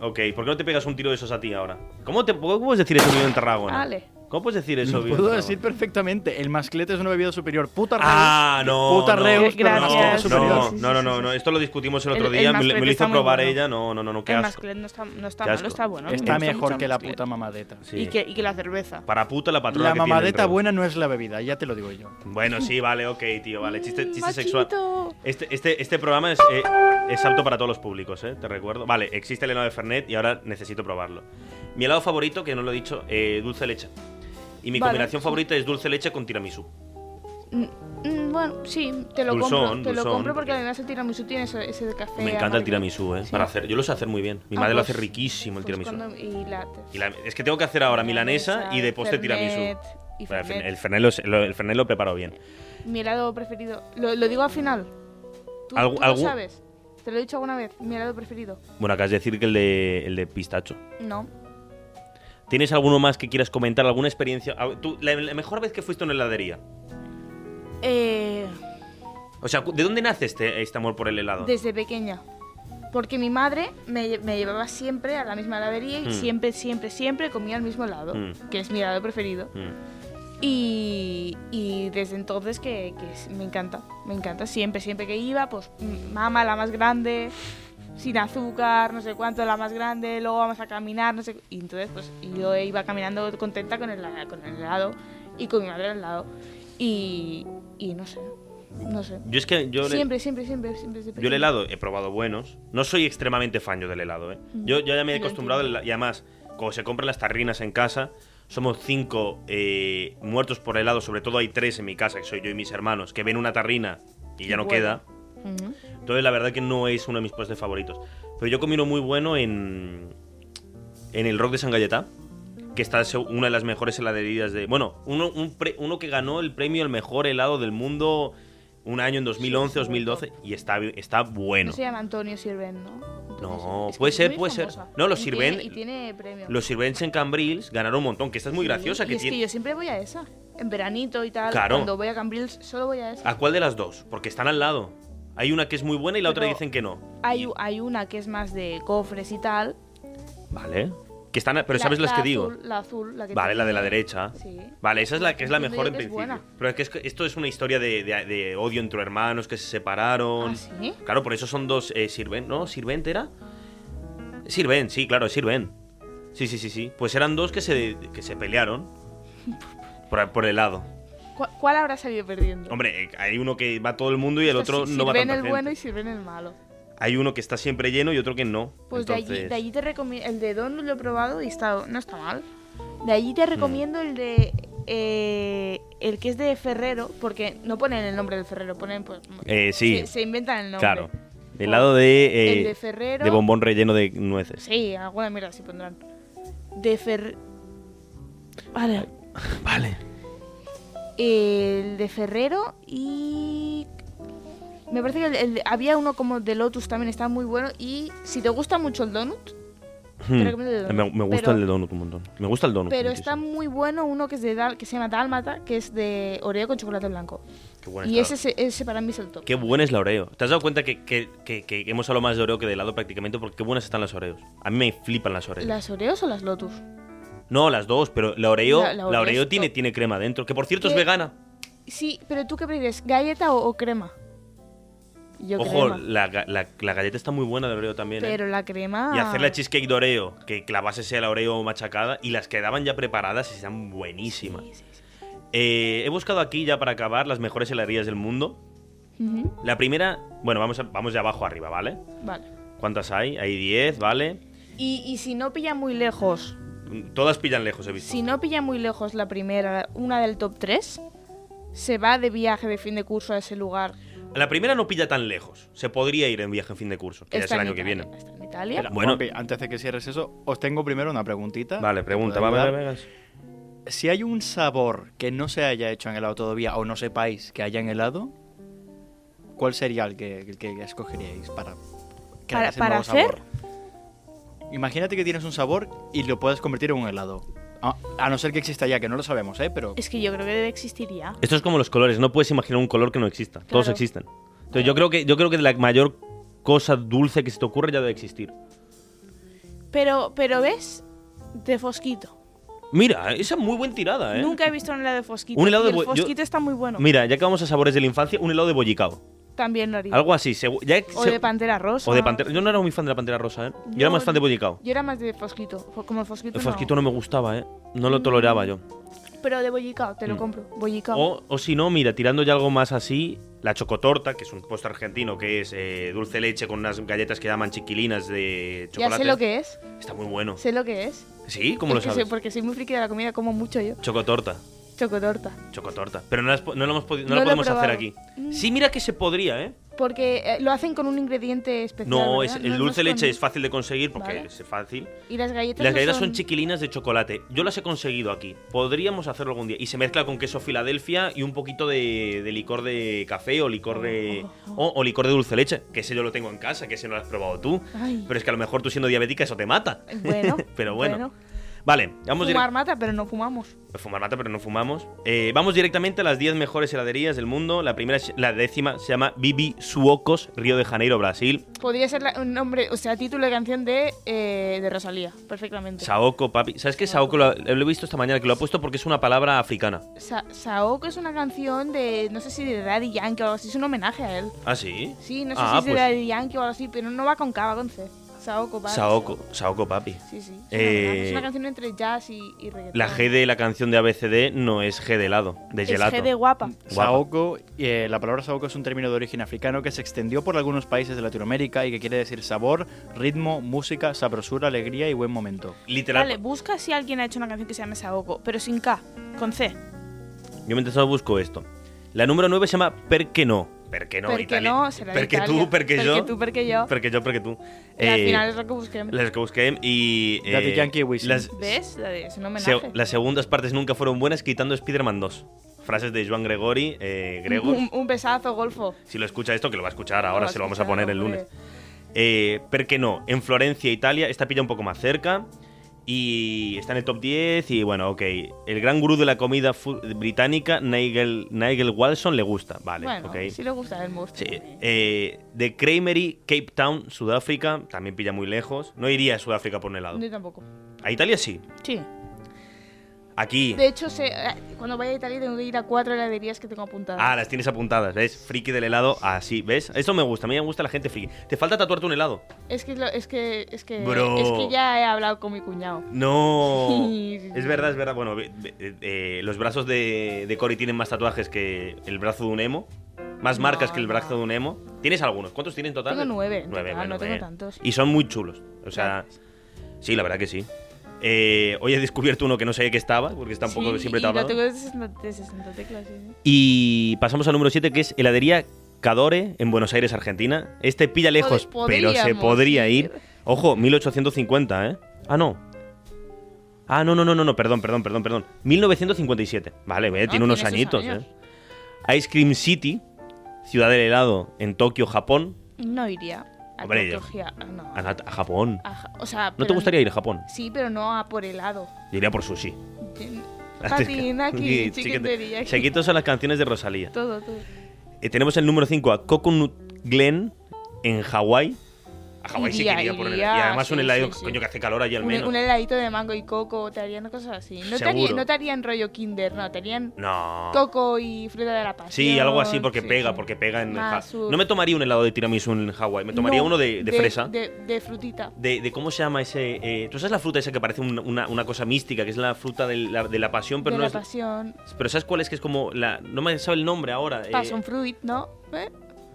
Speaker 2: ok. ¿Por qué no te pegas un tiro de esos a ti ahora? ¿Cómo, te, cómo puedes decir eso, Vivian Tarragona?
Speaker 3: Vale.
Speaker 2: ¿Cómo puedes decir eso,
Speaker 4: Lo
Speaker 2: Vivian
Speaker 4: puedo
Speaker 2: Tarragona?
Speaker 4: decir perfectamente. El masclete es una bebida superior. Puta Reus.
Speaker 2: Ah, no.
Speaker 4: Puta
Speaker 2: no,
Speaker 4: Reus, pero
Speaker 3: Gracias.
Speaker 4: masclete es
Speaker 2: No,
Speaker 4: superior.
Speaker 2: no,
Speaker 3: Sí, sí,
Speaker 2: no, no,
Speaker 3: sí,
Speaker 2: no,
Speaker 3: sí.
Speaker 2: no, Esto lo discutimos el
Speaker 3: El-
Speaker 2: otro
Speaker 3: el
Speaker 2: día. me- me,
Speaker 3: masclete
Speaker 2: lo hizo
Speaker 3: está muy
Speaker 2: probar
Speaker 3: bueno.
Speaker 2: ella. No, no, no, no. Qué
Speaker 3: El
Speaker 2: asco.
Speaker 3: masclet no está, no está
Speaker 2: Qué
Speaker 3: malo,
Speaker 2: asco.
Speaker 3: está bueno. Me
Speaker 4: Está
Speaker 3: gusta mucho
Speaker 4: mejor
Speaker 3: el
Speaker 4: que la
Speaker 3: masclet.
Speaker 4: puta mamadeta.
Speaker 2: Sí.
Speaker 3: Y, que, y que la cerveza.
Speaker 2: Para puta la patrona
Speaker 4: La
Speaker 2: que tiene
Speaker 4: mamadeta
Speaker 2: dentro.
Speaker 4: buena no es la bebida, ya te lo digo yo.
Speaker 2: Bueno, sí, vale, ok, tío, vale. Chiste,
Speaker 3: Mm,
Speaker 2: chiste sexual.
Speaker 3: machito.
Speaker 2: Este, este, este programa es, eh, es apto para todos los públicos, ¿eh? Te recuerdo. Vale, existe el helado de Fernet y ahora necesito probarlo. Mi helado favorito, que no lo he dicho, eh, dulce de leche. Y mi
Speaker 3: Vale,
Speaker 2: combinación
Speaker 3: sí.
Speaker 2: favorita es dulce de leche con tiramisú.
Speaker 3: Mm, mm, bueno, sí, te lo
Speaker 2: Dulzón,
Speaker 3: compro. Te
Speaker 2: dulzón,
Speaker 3: lo compro porque
Speaker 2: porque-
Speaker 3: además el tiramisú tiene ese, ese de café.
Speaker 2: Me encanta el
Speaker 3: amargo.
Speaker 2: tiramisú, ¿eh?
Speaker 3: Sí.
Speaker 2: Para hacer, yo lo sé hacer muy bien. Mi
Speaker 3: Ah,
Speaker 2: madre lo
Speaker 3: pues-
Speaker 2: hace riquísimo el
Speaker 3: pues
Speaker 2: tiramisú.
Speaker 3: cuando- y la-
Speaker 2: Y la- es que tengo que hacer ahora milanesa y de postre
Speaker 3: Fernet
Speaker 2: tiramisú.
Speaker 3: y
Speaker 2: Bueno,
Speaker 3: Fernet.
Speaker 2: El Fernet lo, sé- lo- el Fernet lo preparo bien.
Speaker 3: Mi helado preferido. Lo, lo digo al final. Tú,
Speaker 2: Algu-
Speaker 3: tú lo
Speaker 2: algún-
Speaker 3: sabes. Te lo he dicho alguna vez. Mi helado preferido.
Speaker 2: Bueno, acabas de decir que el de, el de pistacho.
Speaker 3: No.
Speaker 2: ¿Tienes alguno más que quieras comentar? ¿Alguna experiencia? Ah, tú, la, la mejor vez que fuiste a una heladería.
Speaker 3: Eh,
Speaker 2: O sea, cu- ¿de dónde nace este, este amor por el helado?
Speaker 3: desde pequeña. Porque mi madre me, lle- me llevaba siempre a la misma heladería y
Speaker 2: Mm.
Speaker 3: siempre, siempre, siempre comía el mismo helado.
Speaker 2: Mm.
Speaker 3: Que es mi helado preferido.
Speaker 2: Mm.
Speaker 3: Y, y desde entonces que, que es- me encanta. Me encanta. Siempre, siempre que iba, pues mm, mama la más grande. Sin azúcar, no sé cuánto, la más grande, luego vamos a caminar, no sé. cu- Y entonces, pues yo iba caminando contenta con el, con el helado y con mi madre al lado. Y, y no sé, no sé.
Speaker 2: Yo es que yo, le-
Speaker 3: siempre, siempre, siempre, siempre. desde
Speaker 2: yo el
Speaker 3: pequeña.
Speaker 2: helado he probado buenos. No soy extremadamente fan yo del helado, ¿eh? Yo, yo ya me he
Speaker 3: Lo
Speaker 2: acostumbrado al hela- y además, como se compran las tarrinas en casa, somos cinco eh, muertos por helado, sobre todo hay tres en mi casa, que soy yo y mis hermanos, que ven una tarrina y ya no
Speaker 3: Bueno.
Speaker 2: queda.
Speaker 3: Ujú.
Speaker 2: Entonces la verdad que no es uno de mis postres favoritos. Pero yo comí uno muy bueno en, en el Rock de San Galletá, que está se- una de las mejores heladerías de... Bueno, uno, un pre- uno que ganó el premio al mejor helado del mundo un año en 2011,
Speaker 3: Sí, sí,
Speaker 2: 2012, y está, está bueno.
Speaker 3: No se llama Antonio Sirven, ¿no? Antonio
Speaker 2: No,
Speaker 3: Sirven. Es que
Speaker 2: puede
Speaker 3: es
Speaker 2: ser,
Speaker 3: muy
Speaker 2: puede ser.
Speaker 3: famosa.
Speaker 2: No, los
Speaker 3: Y
Speaker 2: Sirven-
Speaker 3: tiene- Y tiene premio.
Speaker 2: Los sirvents en Cambrils ganaron un montón, que esta es muy
Speaker 3: Sí,
Speaker 2: graciosa.
Speaker 3: y
Speaker 2: Que
Speaker 3: es
Speaker 2: tiene...
Speaker 3: que yo siempre voy a esa. En veranito y tal.
Speaker 2: Claro. Ah,
Speaker 3: Cuando voy a Cambrils, solo voy a esa.
Speaker 2: ¿A cuál de las dos? Porque están al lado. Hay una que es muy buena y la otra
Speaker 3: Pero
Speaker 2: dicen que no.
Speaker 3: Hay,
Speaker 2: Y-
Speaker 3: hay una que es más de cofres y tal.
Speaker 2: Vale. Que están, pero
Speaker 3: La-
Speaker 2: ¿sabes las
Speaker 3: la
Speaker 2: que digo?
Speaker 3: azul- La azul, la que
Speaker 2: Vale, la de la
Speaker 3: tiene-
Speaker 2: derecha.
Speaker 3: Sí.
Speaker 2: Vale, esa es la que es la
Speaker 3: Entiendo
Speaker 2: mejor
Speaker 3: yo
Speaker 2: en
Speaker 3: que es
Speaker 2: principio.
Speaker 3: buena.
Speaker 2: Pero es que es que esto es una historia de, de- de odio entre hermanos que se separaron.
Speaker 3: ¿Ah, sí?
Speaker 2: Claro, por eso son dos eh, Sirven, ¿no? ¿Sirvent era? Sirven, sí, claro, Sirven. Sí, sí, sí, sí. Pues eran dos que se, que se pelearon por, por el lado.
Speaker 3: ¿Cuál, cuál habrá salido perdiendo?
Speaker 2: Hombre, eh, hay uno que va todo el mundo y el otro no va
Speaker 3: Sirven
Speaker 2: tanta
Speaker 3: el
Speaker 2: gente.
Speaker 3: bueno y sirven el malo.
Speaker 2: Hay uno que está siempre lleno y otro que no.
Speaker 3: Pues de, allí,
Speaker 2: Entonces,
Speaker 3: de allí te recomiendo. El de Don lo he probado y está, no está mal. De allí
Speaker 2: Hmm.
Speaker 3: te recomiendo el de. eh, el que es de Ferrero, porque no ponen el nombre del Ferrero, ponen pues.
Speaker 2: eh, sí,
Speaker 3: se, se inventan el nombre.
Speaker 2: claro. Del lado de, eh,
Speaker 3: el de Ferrero.
Speaker 2: de bombón relleno de nueces.
Speaker 3: Sí, alguna mierda sí pondrán. De Fer. Vale.
Speaker 2: Vale.
Speaker 3: El de Ferrero y... Me parece que el- el- había uno como de Lotus también, está muy bueno. Y si te gusta mucho el donut,
Speaker 2: Hmm.
Speaker 3: Creo que me-
Speaker 2: Me, me gusta
Speaker 3: pero-
Speaker 2: el de Donut un montón. Me gusta el Donut.
Speaker 3: pero
Speaker 2: muchísimo.
Speaker 3: está muy bueno uno que, es de, Dal- que se llama Dálmata, que es de Oreo con chocolate blanco.
Speaker 2: Qué buena
Speaker 3: Y
Speaker 2: está.
Speaker 3: ese, se- ese para mí es el top.
Speaker 2: Qué buena es la Oreo. ¿Te has dado cuenta que, que- que- que hemos hablado más de Oreo que de helado prácticamente? Porque qué buenas están las Oreos. A mí me flipan las Oreos.
Speaker 3: ¿Las Oreos o las Lotus?
Speaker 2: No, las dos, pero la Oreo,
Speaker 3: La-
Speaker 2: la,
Speaker 3: la Oreo
Speaker 2: Oreo,
Speaker 3: es
Speaker 2: tiene,
Speaker 3: top.
Speaker 2: tiene crema dentro. Que por cierto es
Speaker 3: ¿Qué?
Speaker 2: vegana.
Speaker 3: Sí, pero ¿tú qué prefieres? ¿Galleta o, o crema? Yo
Speaker 2: Ojo,
Speaker 3: crema.
Speaker 2: la, ga- la- la galleta está muy buena de Oreo también. ¿eh?
Speaker 3: Pero la crema...
Speaker 2: Y hacer la cheesecake de Oreo, que la base sea la Oreo machacada, y las que daban ya preparadas están buenísimas.
Speaker 3: Sí, sí, sí.
Speaker 2: Eh, he buscado aquí ya para acabar las mejores heladerías del mundo.
Speaker 3: Ujú,
Speaker 2: La primera, bueno, vamos, a- vamos de abajo arriba, ¿vale?
Speaker 3: Vale.
Speaker 2: ¿Cuántas hay? Hay 10, ¿vale?
Speaker 3: Y, y si no pilla muy lejos,
Speaker 2: Todas pillan lejos, he visto.
Speaker 3: si no pilla muy lejos la primera, una del top 3, se va de viaje de fin de curso a ese lugar.
Speaker 2: La primera no pilla tan lejos. Se podría ir en viaje en fin de curso, que ya es
Speaker 3: Está
Speaker 2: el
Speaker 3: en
Speaker 2: año que
Speaker 3: Italia,
Speaker 2: viene.
Speaker 3: Está en Italia.
Speaker 2: Era- Bueno.
Speaker 4: Juanpi, antes de que cierres eso, os tengo primero una preguntita.
Speaker 2: Vale, pregunta, va,
Speaker 4: ¿Puedo
Speaker 2: va,
Speaker 4: ayudar?
Speaker 2: va, va.
Speaker 4: Si hay un sabor que no se haya hecho en helado todavía o no sepáis que haya en helado, ¿cuál sería el que, el que escogeríais para crear
Speaker 3: Para-
Speaker 4: ese
Speaker 3: para
Speaker 4: nuevo sabor? Imagínate que tienes un sabor y lo puedes convertir en un helado. A, a no ser que exista ya, que no lo sabemos, ¿eh? Pero
Speaker 3: Es que yo creo que debe existir ya.
Speaker 2: Esto es como los colores, no puedes imaginar un color que no exista. Todos
Speaker 3: Claro.
Speaker 2: existen. Entonces yo creo que yo creo que la mayor cosa dulce que se te ocurre ya debe existir.
Speaker 3: Pero, pero ¿ves? De fosquito.
Speaker 2: Mira, esa es muy buena tirada, ¿eh?
Speaker 3: Nunca he visto un helado de fosquito.
Speaker 2: Un helado
Speaker 3: y
Speaker 2: de
Speaker 3: el
Speaker 2: bo- yo-
Speaker 3: fosquito está muy bueno.
Speaker 2: Mira, ya que vamos a sabores de la infancia, un helado de bollicao.
Speaker 3: También lo haría.
Speaker 2: Algo así. segu- ya ex-
Speaker 3: o de pantera rosa.
Speaker 2: o de pantera. Yo no era muy fan de la pantera rosa, ¿eh? Yo era
Speaker 3: No,
Speaker 2: más fan de bollicao.
Speaker 3: Yo era más de fosquito. fo- Como el fosquito.
Speaker 2: El
Speaker 3: no.
Speaker 2: fosquito no me gustaba, ¿eh? No lo toleraba yo.
Speaker 3: Pero de bollicao, te lo compro. Bollicao.
Speaker 2: Mm. O, o si no, mira, tirando ya algo más así, la chocotorta, que es un postre argentino, que es eh, dulce de leche con unas galletas que llaman chiquilinas de
Speaker 3: ya
Speaker 2: chocolate.
Speaker 3: sé lo que es.
Speaker 2: Está muy bueno.
Speaker 3: Sé lo que es.
Speaker 2: Sí, ¿cómo lo
Speaker 3: Es que soy-
Speaker 2: sabes?
Speaker 3: porque soy muy friki de la comida, como mucho yo.
Speaker 2: Chocotorta.
Speaker 3: Chocotorta.
Speaker 2: Chocotorta. Pero no, las po- no lo, hemos podi- no
Speaker 3: No
Speaker 2: lo
Speaker 3: lo he
Speaker 2: podemos hacer
Speaker 3: probado. Mm.
Speaker 2: aquí. Sí, mira que se podría, ¿eh?
Speaker 3: Porque eh, lo hacen con un ingrediente especial.
Speaker 2: No, es,
Speaker 3: ¿verdad?
Speaker 2: el
Speaker 3: no
Speaker 2: dulce de
Speaker 3: con-
Speaker 2: leche es fácil de conseguir porque
Speaker 3: Vale.
Speaker 2: es fácil.
Speaker 3: Y las galletas.
Speaker 2: Las
Speaker 3: no
Speaker 2: galletas son chiquilinas de chocolate. Yo las he conseguido aquí. Podríamos hacerlo algún día. Y se mezcla con queso Filadelfia y un poquito de, de licor de café o licor de. O, o licor de dulce de leche. Que ese yo lo tengo en casa, que ese no lo has probado tú.
Speaker 3: Ay.
Speaker 2: Pero es que a lo mejor tú siendo diabética eso te mata.
Speaker 3: Bueno.
Speaker 2: Pero bueno. Vale, vamos direct-
Speaker 3: Fumar mata, pero no fumamos.
Speaker 2: Fumar mata, pero no fumamos. Eh, vamos directamente a las 10 mejores heladerías del mundo. La primera, es- la décima, se llama Bibi Suocos, Río de Janeiro, Brasil.
Speaker 3: Podría ser la- un nombre, o sea, título de canción de, eh, de Rosalía, perfectamente.
Speaker 2: Saoko, papi. ¿Sabes qué? Saoko lo, ha- lo he visto esta mañana, que lo ha puesto porque es una palabra africana.
Speaker 3: Sa- Saoko es una canción de, no sé si de Daddy Yankee o algo así, es un homenaje a él.
Speaker 2: ¿Ah, sí?
Speaker 3: Sí, no sé
Speaker 2: Ah,
Speaker 3: si es de
Speaker 2: pues-
Speaker 3: Daddy Yankee o algo así, pero no va con K, va con C. Saoko, va.
Speaker 2: Saoko, Saoko, papi.
Speaker 3: Sí, sí.
Speaker 2: Eh,
Speaker 3: Es, un homenaje, es una canción entre jazz y, y reggaetón.
Speaker 2: La G de la canción de ABCD no es G de helado, de
Speaker 3: Es
Speaker 2: gelato.
Speaker 3: G de guapa.
Speaker 4: Saoko, eh, la palabra saoko es un término de origen africano que se extendió por algunos países de Latinoamérica y que quiere decir sabor, ritmo, música, sabrosura, alegría y buen momento.
Speaker 2: Literal.
Speaker 3: Vale, busca si alguien ha hecho una canción que se llame Saoko, pero sin K, con C.
Speaker 2: Yo mientras tanto busco esto. La número 9 se llama Per que no. Per que no,
Speaker 3: porque
Speaker 2: Italia.
Speaker 3: no, será de
Speaker 2: Per que
Speaker 3: Italia.
Speaker 2: tú, per que
Speaker 3: Perché
Speaker 2: yo.
Speaker 3: tú, perché yo.
Speaker 2: Per que yo, per que tú.
Speaker 3: Y al
Speaker 2: Eh,
Speaker 3: final es lo que busquemos.
Speaker 2: Las que busqué y. eh,
Speaker 4: Daddy Yankee y Wisin.
Speaker 2: Las,
Speaker 3: ¿Ves? La de- Es un
Speaker 2: se-
Speaker 3: homenaje.
Speaker 2: las segundas partes nunca fueron buenas, quitando Spider-Man 2. Frases de Joan Gregori, eh, Gregor.
Speaker 3: Un, un besazo, golfo.
Speaker 2: Si lo escucha esto, que lo va a escuchar ahora,
Speaker 3: va a
Speaker 2: se lo vamos a
Speaker 3: escuchar,
Speaker 2: poner el
Speaker 3: hombre.
Speaker 2: lunes. Eh, ¿Por qué no? En Florencia, Italia, esta pilla un poco más cerca. Y está en el top 10 y bueno, ok. El gran gurú de la comida fu- británica, Nigel, Nigel Walson, le gusta. Vale,
Speaker 3: bueno,
Speaker 2: ok.
Speaker 3: si le gusta el pues, monstruo.
Speaker 2: Sí, eh, de Creamery, Cape Town, Sudáfrica, también pilla muy lejos. No iría a Sudáfrica por un helado.
Speaker 3: Yo tampoco.
Speaker 2: A Italia eh, sí.
Speaker 3: Sí.
Speaker 2: Aquí.
Speaker 3: De hecho, se- eh, cuando vaya a Italia tengo que ir a cuatro heladerías que tengo apuntadas.
Speaker 2: Ah, las tienes apuntadas, ¿ves? Friki del helado, así, ¿ves? Esto me gusta, a mí me gusta la gente friki. ¿Te falta tatuarte un helado?
Speaker 3: Es que, es lo- es que, es que,
Speaker 2: Bro.
Speaker 3: es que ya he hablado con mi cuñado.
Speaker 2: No.
Speaker 3: Sí, sí,
Speaker 2: Es
Speaker 3: sí.
Speaker 2: verdad, es verdad. Bueno, ve- ve- eh, los brazos de, de Cory tienen más tatuajes que el brazo de un emo. Más
Speaker 3: No,
Speaker 2: marcas que el brazo
Speaker 3: no.
Speaker 2: de un emo. ¿Tienes algunos? ¿Cuántos tienes en total?
Speaker 3: Tengo nueve en
Speaker 2: Nueve,
Speaker 3: total,
Speaker 2: bueno,
Speaker 3: no tengo
Speaker 2: bien.
Speaker 3: tantos.
Speaker 2: Y son muy chulos. O sea, sí, la verdad que sí. Eh, hoy he descubierto uno que no sabía que estaba, porque está un poco
Speaker 3: Sí,
Speaker 2: siempre
Speaker 3: y lo
Speaker 2: tapado.
Speaker 3: tengo de 60, de 60 teclas. sí, sí.
Speaker 2: Y pasamos al número 7, que es heladería Cadore, en Buenos Aires, Argentina. Este pilla lejos,
Speaker 3: Pod-
Speaker 2: pero se
Speaker 3: podríamos
Speaker 2: podría
Speaker 3: ir.
Speaker 2: ir. Ojo, 1850, ¿eh? Ah, no. Ah, no, no, no, no, no, perdón, perdón, perdón, perdón. 1957. Vale, ve,
Speaker 3: No,
Speaker 2: tiene unos
Speaker 3: Ah, tiene sus
Speaker 2: añitos,
Speaker 3: años.
Speaker 2: ¿eh? Ice Cream City, ciudad del helado en Tokio, Japón.
Speaker 3: No iría a
Speaker 2: Hombre, yo-
Speaker 3: Tokio, a- no.
Speaker 2: A, nat- a Japón.
Speaker 3: A Ja- o sea,
Speaker 2: ¿No te
Speaker 3: Ah, pero-
Speaker 2: gustaría ir a Japón?
Speaker 3: Sí, pero no a por helado.
Speaker 2: Yo iría por sushi.
Speaker 3: Patín aquí,
Speaker 2: Sí,
Speaker 3: chiquitería aquí.
Speaker 2: Chiquitos son las canciones de Rosalía.
Speaker 3: Todo, todo.
Speaker 2: Eh, tenemos el número 5 a Coconut Glen en Hawái. A Hawái sí
Speaker 3: Iría,
Speaker 2: que iría por el-
Speaker 3: iría,
Speaker 2: Y además un
Speaker 3: sí,
Speaker 2: helado,
Speaker 3: sí, sí.
Speaker 2: coño, que hace calor allí al
Speaker 3: Un,
Speaker 2: menos.
Speaker 3: un heladito de mango y coco, te harían cosas así. No te, harían,
Speaker 2: Seguro.
Speaker 3: no te harían rollo kinder, no, te harían
Speaker 2: No.
Speaker 3: coco y fruta de la pasión.
Speaker 2: Sí, algo así porque
Speaker 3: sí,
Speaker 2: pega,
Speaker 3: sí.
Speaker 2: porque pega en
Speaker 3: Más
Speaker 2: Ja-
Speaker 3: su-
Speaker 2: No me tomaría un helado de tiramisú en Hawái, me tomaría
Speaker 3: No,
Speaker 2: uno de, de fresa. De,
Speaker 3: De, de frutita.
Speaker 2: de cómo se llama ese... eh, ¿Tú sabes la fruta esa que parece un- una, una cosa mística, que es la fruta de la, de la pasión, pero
Speaker 3: de
Speaker 2: no
Speaker 3: la
Speaker 2: es...
Speaker 3: pasión.
Speaker 2: Pero ¿sabes cuál es? Que es como la... No me sabe el nombre ahora. eh,
Speaker 3: Passion fruit, ¿no? ¿Eh?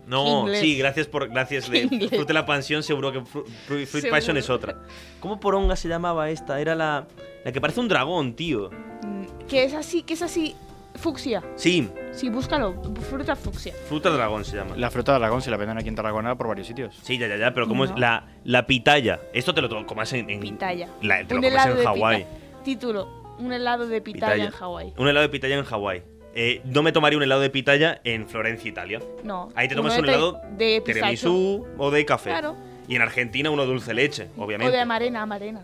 Speaker 2: No,
Speaker 3: Inglés.
Speaker 2: sí, gracias por. Gracias. De,
Speaker 3: Inglés.
Speaker 2: Fruit de la Pansión, seguro que Fru- Fru- Fruit
Speaker 3: Seguro.
Speaker 2: Passion es otra. ¿Cómo poronga se llamaba esta? Era la, la que parece un dragón, tío.
Speaker 3: Mm, Que es así, que es así. Fucsia.
Speaker 2: Sí,
Speaker 3: Sí, búscalo. Fruta fucsia.
Speaker 2: fruta dragón se llama.
Speaker 4: La fruta de dragón se la venden aquí en Tarragona por varios sitios.
Speaker 2: Sí, ya, ya, ya, pero ¿cómo
Speaker 3: No.
Speaker 2: es? La, la pitaya. Esto te lo to- comas en. en-
Speaker 3: Pitaya.
Speaker 2: Mm. la- te lo
Speaker 3: Un
Speaker 2: comes
Speaker 3: helado
Speaker 2: en
Speaker 3: de
Speaker 2: Hawái.
Speaker 3: pita- Título. Un helado de pitaya, en Hawái.
Speaker 2: Un helado de pitaya en Hawái. Eh, no me tomaría un helado de pitaya en Florencia, Italia.
Speaker 3: No.
Speaker 2: Ahí te
Speaker 3: uno
Speaker 2: tomas un
Speaker 3: de-
Speaker 2: helado
Speaker 3: de pistacho.
Speaker 2: Tiramisú o de café.
Speaker 3: Claro.
Speaker 2: Y en Argentina uno dulce leche,
Speaker 3: O
Speaker 2: obviamente.
Speaker 3: de amarena, amarena.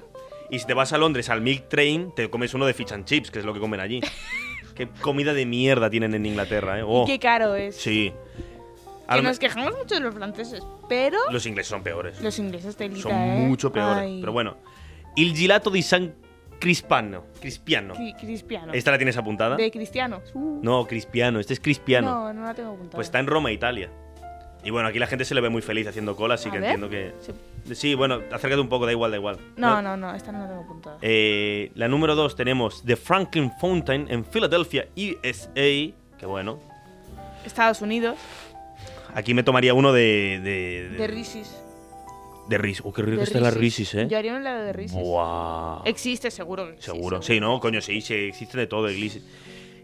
Speaker 2: Y si te vas a Londres al Milk Train, te comes uno de fish and chips, que es lo que comen allí. Qué comida de mierda tienen en Inglaterra, ¿eh? Oh,
Speaker 3: Qué caro es.
Speaker 2: sí. A
Speaker 3: Que
Speaker 2: lo me-
Speaker 3: nos quejamos mucho de los franceses, pero
Speaker 2: Los ingleses son peores.
Speaker 3: los ¿eh? ingleses te
Speaker 2: Son mucho peores. Pero bueno. Il gelato di San Crispano. Crispiano.
Speaker 3: Cristiano.
Speaker 2: ¿Esta la tienes apuntada?
Speaker 3: De cristianos. Uh,
Speaker 2: No, Crispiano. Este es Crispiano.
Speaker 3: no, no la tengo apuntada.
Speaker 2: Pues está en Roma, Italia. Y bueno, aquí la gente se le ve muy feliz haciendo cola, así
Speaker 3: A
Speaker 2: que
Speaker 3: ver.
Speaker 2: entiendo que...
Speaker 3: Sí.
Speaker 2: Sí, bueno, acércate un poco, da igual, da igual.
Speaker 3: No, no, no, esta no la tengo apuntada.
Speaker 2: Eh, la número 2 tenemos The Franklin Fountain en Philadelphia, USA. Que bueno.
Speaker 3: Estados Unidos,
Speaker 2: Aquí me tomaría uno de. De,
Speaker 3: de Risis.
Speaker 2: de Reese's. Oh, qué rico
Speaker 3: de
Speaker 2: Eh, está la
Speaker 3: Reese's.
Speaker 2: Risis, eh.
Speaker 3: Yo haría un helado de Risis.
Speaker 2: Buah.
Speaker 3: Existe, seguro que existe.
Speaker 2: Seguro. Sí, no, coño, sí, sí, existe de todo el glissé.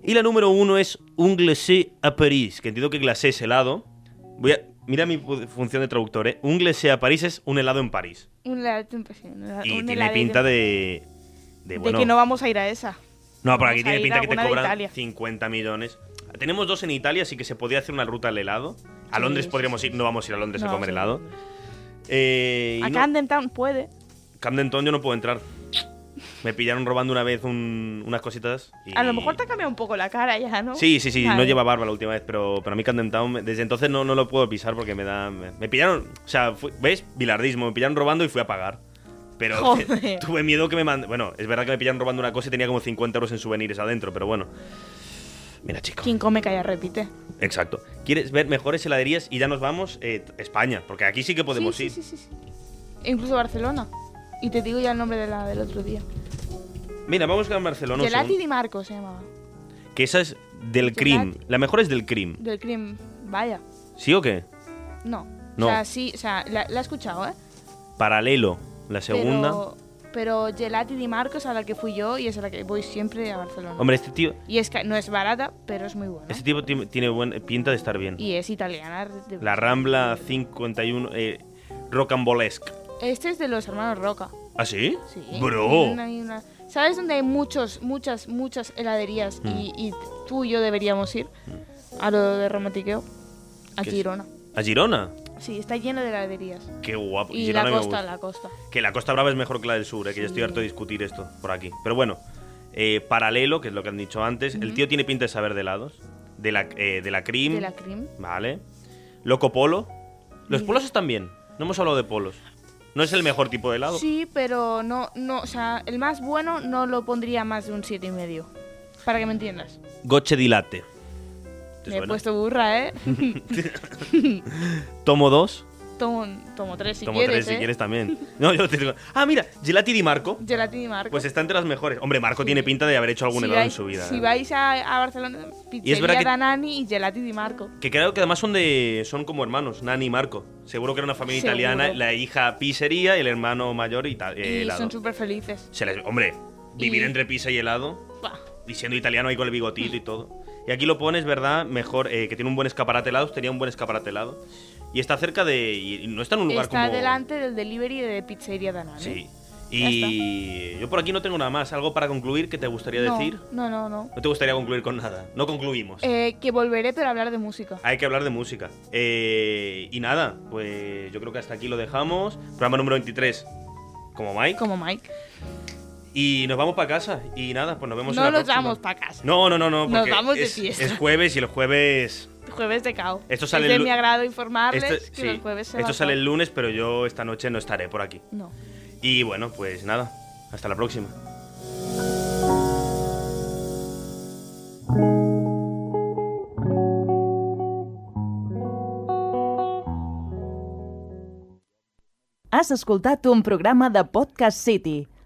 Speaker 2: Y la número 1 es un glacé a París. Que entiendo que glacé es helado. Voy a. Mira mi pu- función de traductor, ¿eh? Un glacé a París es un helado en París.
Speaker 3: Un helado, un helado-
Speaker 2: Y
Speaker 3: Ah, un
Speaker 2: tiene
Speaker 3: heladito.
Speaker 2: pinta de. De,
Speaker 3: De
Speaker 2: bueno,
Speaker 3: que no vamos a ir a esa.
Speaker 2: No, pero
Speaker 3: Vamos
Speaker 2: aquí
Speaker 3: a
Speaker 2: tiene
Speaker 3: ir
Speaker 2: pinta
Speaker 3: a
Speaker 2: que te
Speaker 3: alguna de
Speaker 2: cobran
Speaker 3: Italia.
Speaker 2: 50 millones. Tenemos dos en Italia, así que se podía hacer una ruta al helado. A
Speaker 3: Sí,
Speaker 2: Londres
Speaker 3: sí,
Speaker 2: podríamos
Speaker 3: sí.
Speaker 2: ir, no vamos a ir a Londres a
Speaker 3: No,
Speaker 2: comer
Speaker 3: sí.
Speaker 2: helado. Eh, y
Speaker 3: A
Speaker 2: no,
Speaker 3: Camden Town puede.
Speaker 2: Camden Town yo no puedo entrar. Me pillaron robando una vez un- unas cositas. y-
Speaker 3: A lo mejor te ha cambiado un poco la cara ya, ¿no?
Speaker 2: Sí, sí, sí, no
Speaker 3: Vale.
Speaker 2: lleva barba la última vez, pero para mí Camden Town, me- desde entonces no, no lo puedo pisar porque me da. Me, me pillaron, o sea, fui- ¿ves? Bilardismo, me pillaron robando y fui a pagar. Pero
Speaker 3: Joder.
Speaker 2: tuve miedo que me manden. Bueno, es verdad que me pillaron robando una cosa y tenía como 50 euros en souvenirs adentro, pero bueno. Mira, chico.
Speaker 3: Quien come calla repite.
Speaker 2: Exacto. ¿Quieres ver mejores heladerías y ya nos vamos? Eh, t- España, porque aquí sí que podemos
Speaker 3: Sí,
Speaker 2: ir.
Speaker 3: sí, sí, sí, sí. E incluso Barcelona. Y te digo ya el nombre de la del otro día.
Speaker 2: Mira, vamos a Barcelona. un
Speaker 3: Gelati
Speaker 2: segundo,
Speaker 3: Di Marco se llamaba.
Speaker 2: que esa es del
Speaker 3: Gelati.
Speaker 2: crim. La mejor es del crim.
Speaker 3: Del crimen. Vaya.
Speaker 2: ¿Sí o qué?
Speaker 3: No.
Speaker 2: No.
Speaker 3: O sea, sí, o sea, la, la he escuchado, ¿eh?
Speaker 2: Paralelo, la segunda.
Speaker 3: Pero, pero Gelati Di Marco es a la que fui yo y es a la que voy siempre a Barcelona.
Speaker 2: Hombre, este tío.
Speaker 3: Y es que no es barata, pero es muy buena.
Speaker 2: Este tipo ti- tiene buena pinta de estar bien.
Speaker 3: Y es italiana. de-
Speaker 2: La Rambla 51 eh, Rocambolesque.
Speaker 3: Este es de los hermanos Roca.
Speaker 2: ¿Ah, sí?
Speaker 3: Sí.
Speaker 2: Bro.
Speaker 3: Una- hay una- ¿Sabes dónde hay muchos, muchas, muchas heladerías y,
Speaker 2: Mm.
Speaker 3: y tú y yo deberíamos ir? A lo de romantiqueo. A
Speaker 2: ¿Qué es?
Speaker 3: Girona.
Speaker 2: ¿A Girona?
Speaker 3: Sí, está lleno de heladerías.
Speaker 2: Qué guapo.
Speaker 3: Y
Speaker 2: Girona me
Speaker 3: la costa,
Speaker 2: gusta.
Speaker 3: la costa.
Speaker 2: Que la Costa Brava es mejor que la del sur, eh, que yo estoy harto de discutir esto por aquí. Pero bueno, eh, paralelo, que es lo que han dicho antes. El tío tiene pinta de saber de helados. De la, eh, de la crim.
Speaker 3: De la Crim.
Speaker 2: Vale. Loco Polo. Los
Speaker 3: Mira.
Speaker 2: polos están bien. No hemos hablado de polos. No es el mejor tipo de helado.
Speaker 3: Sí, pero no, no, o sea, el más bueno no lo pondría más de un siete y medio. Para que me entiendas.
Speaker 2: Goche di latte. ¿Te
Speaker 3: Me he
Speaker 2: suena?
Speaker 3: puesto burra, ¿eh?
Speaker 2: Tomo 2.
Speaker 3: Tomo, tomo tres si
Speaker 2: tomo
Speaker 3: quieres,
Speaker 2: 3 si
Speaker 3: ¿eh?
Speaker 2: quieres también. No, yo te digo. Ah, mira, Gelati di Marco.
Speaker 3: Gelatini Marco.
Speaker 2: Pues está entre las mejores. Hombre, Marco
Speaker 3: Sí.
Speaker 2: tiene pinta de haber hecho algún
Speaker 3: si
Speaker 2: helado
Speaker 3: vais-
Speaker 2: en su vida.
Speaker 3: Si
Speaker 2: ¿eh?
Speaker 3: vais a, a Barcelona,
Speaker 2: verdad
Speaker 3: pizzería
Speaker 2: que-
Speaker 3: Danani y Gelati Di Marco.
Speaker 2: Que creo que además son de son como hermanos, Nani y Marco. Seguro que era una familia
Speaker 3: Seguro.
Speaker 2: italiana, la hija pizzería, el hermano mayor ita- eh,
Speaker 3: y
Speaker 2: helado.
Speaker 3: son súper felices.
Speaker 2: Se les- hombre, vivir
Speaker 3: Y-
Speaker 2: entre pizza y helado,
Speaker 3: Buah,
Speaker 2: y siendo italiano ahí con el bigotito y todo. Y aquí lo pones, ¿verdad? Mejor, eh, que tiene un buen escaparate helado, tenía un buen escaparate helado. Y está cerca de... Y y no está en un lugar
Speaker 3: Está
Speaker 2: como...
Speaker 3: delante del delivery de Pizzería ¿eh? Danani.
Speaker 2: Sí. Y yo por aquí no tengo nada más. ¿Algo para concluir que te gustaría
Speaker 3: no,
Speaker 2: decir?
Speaker 3: No, no, no.
Speaker 2: No te gustaría concluir con nada. No concluimos.
Speaker 3: Eh, que volveré, pero a hablar de música.
Speaker 2: Hay que hablar de música. Eh, y nada, pues yo creo que hasta aquí lo dejamos. Programa número 23, como Mike.
Speaker 3: Como Mike.
Speaker 2: Y nos vamos para casa. Y nada, pues nos vemos
Speaker 3: No
Speaker 2: en la
Speaker 3: nos
Speaker 2: próxima.
Speaker 3: vamos para casa.
Speaker 2: No, no, no, no.
Speaker 3: Nos
Speaker 2: porque
Speaker 3: vamos de
Speaker 2: es,
Speaker 3: fiesta.
Speaker 2: Es jueves y los jueves.
Speaker 3: Jueves de cao.
Speaker 2: Esto sale
Speaker 3: es de
Speaker 2: el lu-
Speaker 3: mi agrado informarles
Speaker 2: esto-
Speaker 3: que
Speaker 2: sí,
Speaker 3: los jueves se
Speaker 2: esto
Speaker 3: va
Speaker 2: sale
Speaker 3: a-
Speaker 2: el lunes, pero yo esta noche no estaré por aquí.
Speaker 3: No.
Speaker 2: Y bueno, pues nada, hasta la próxima.
Speaker 1: Has escoltat un programa de Podcast City,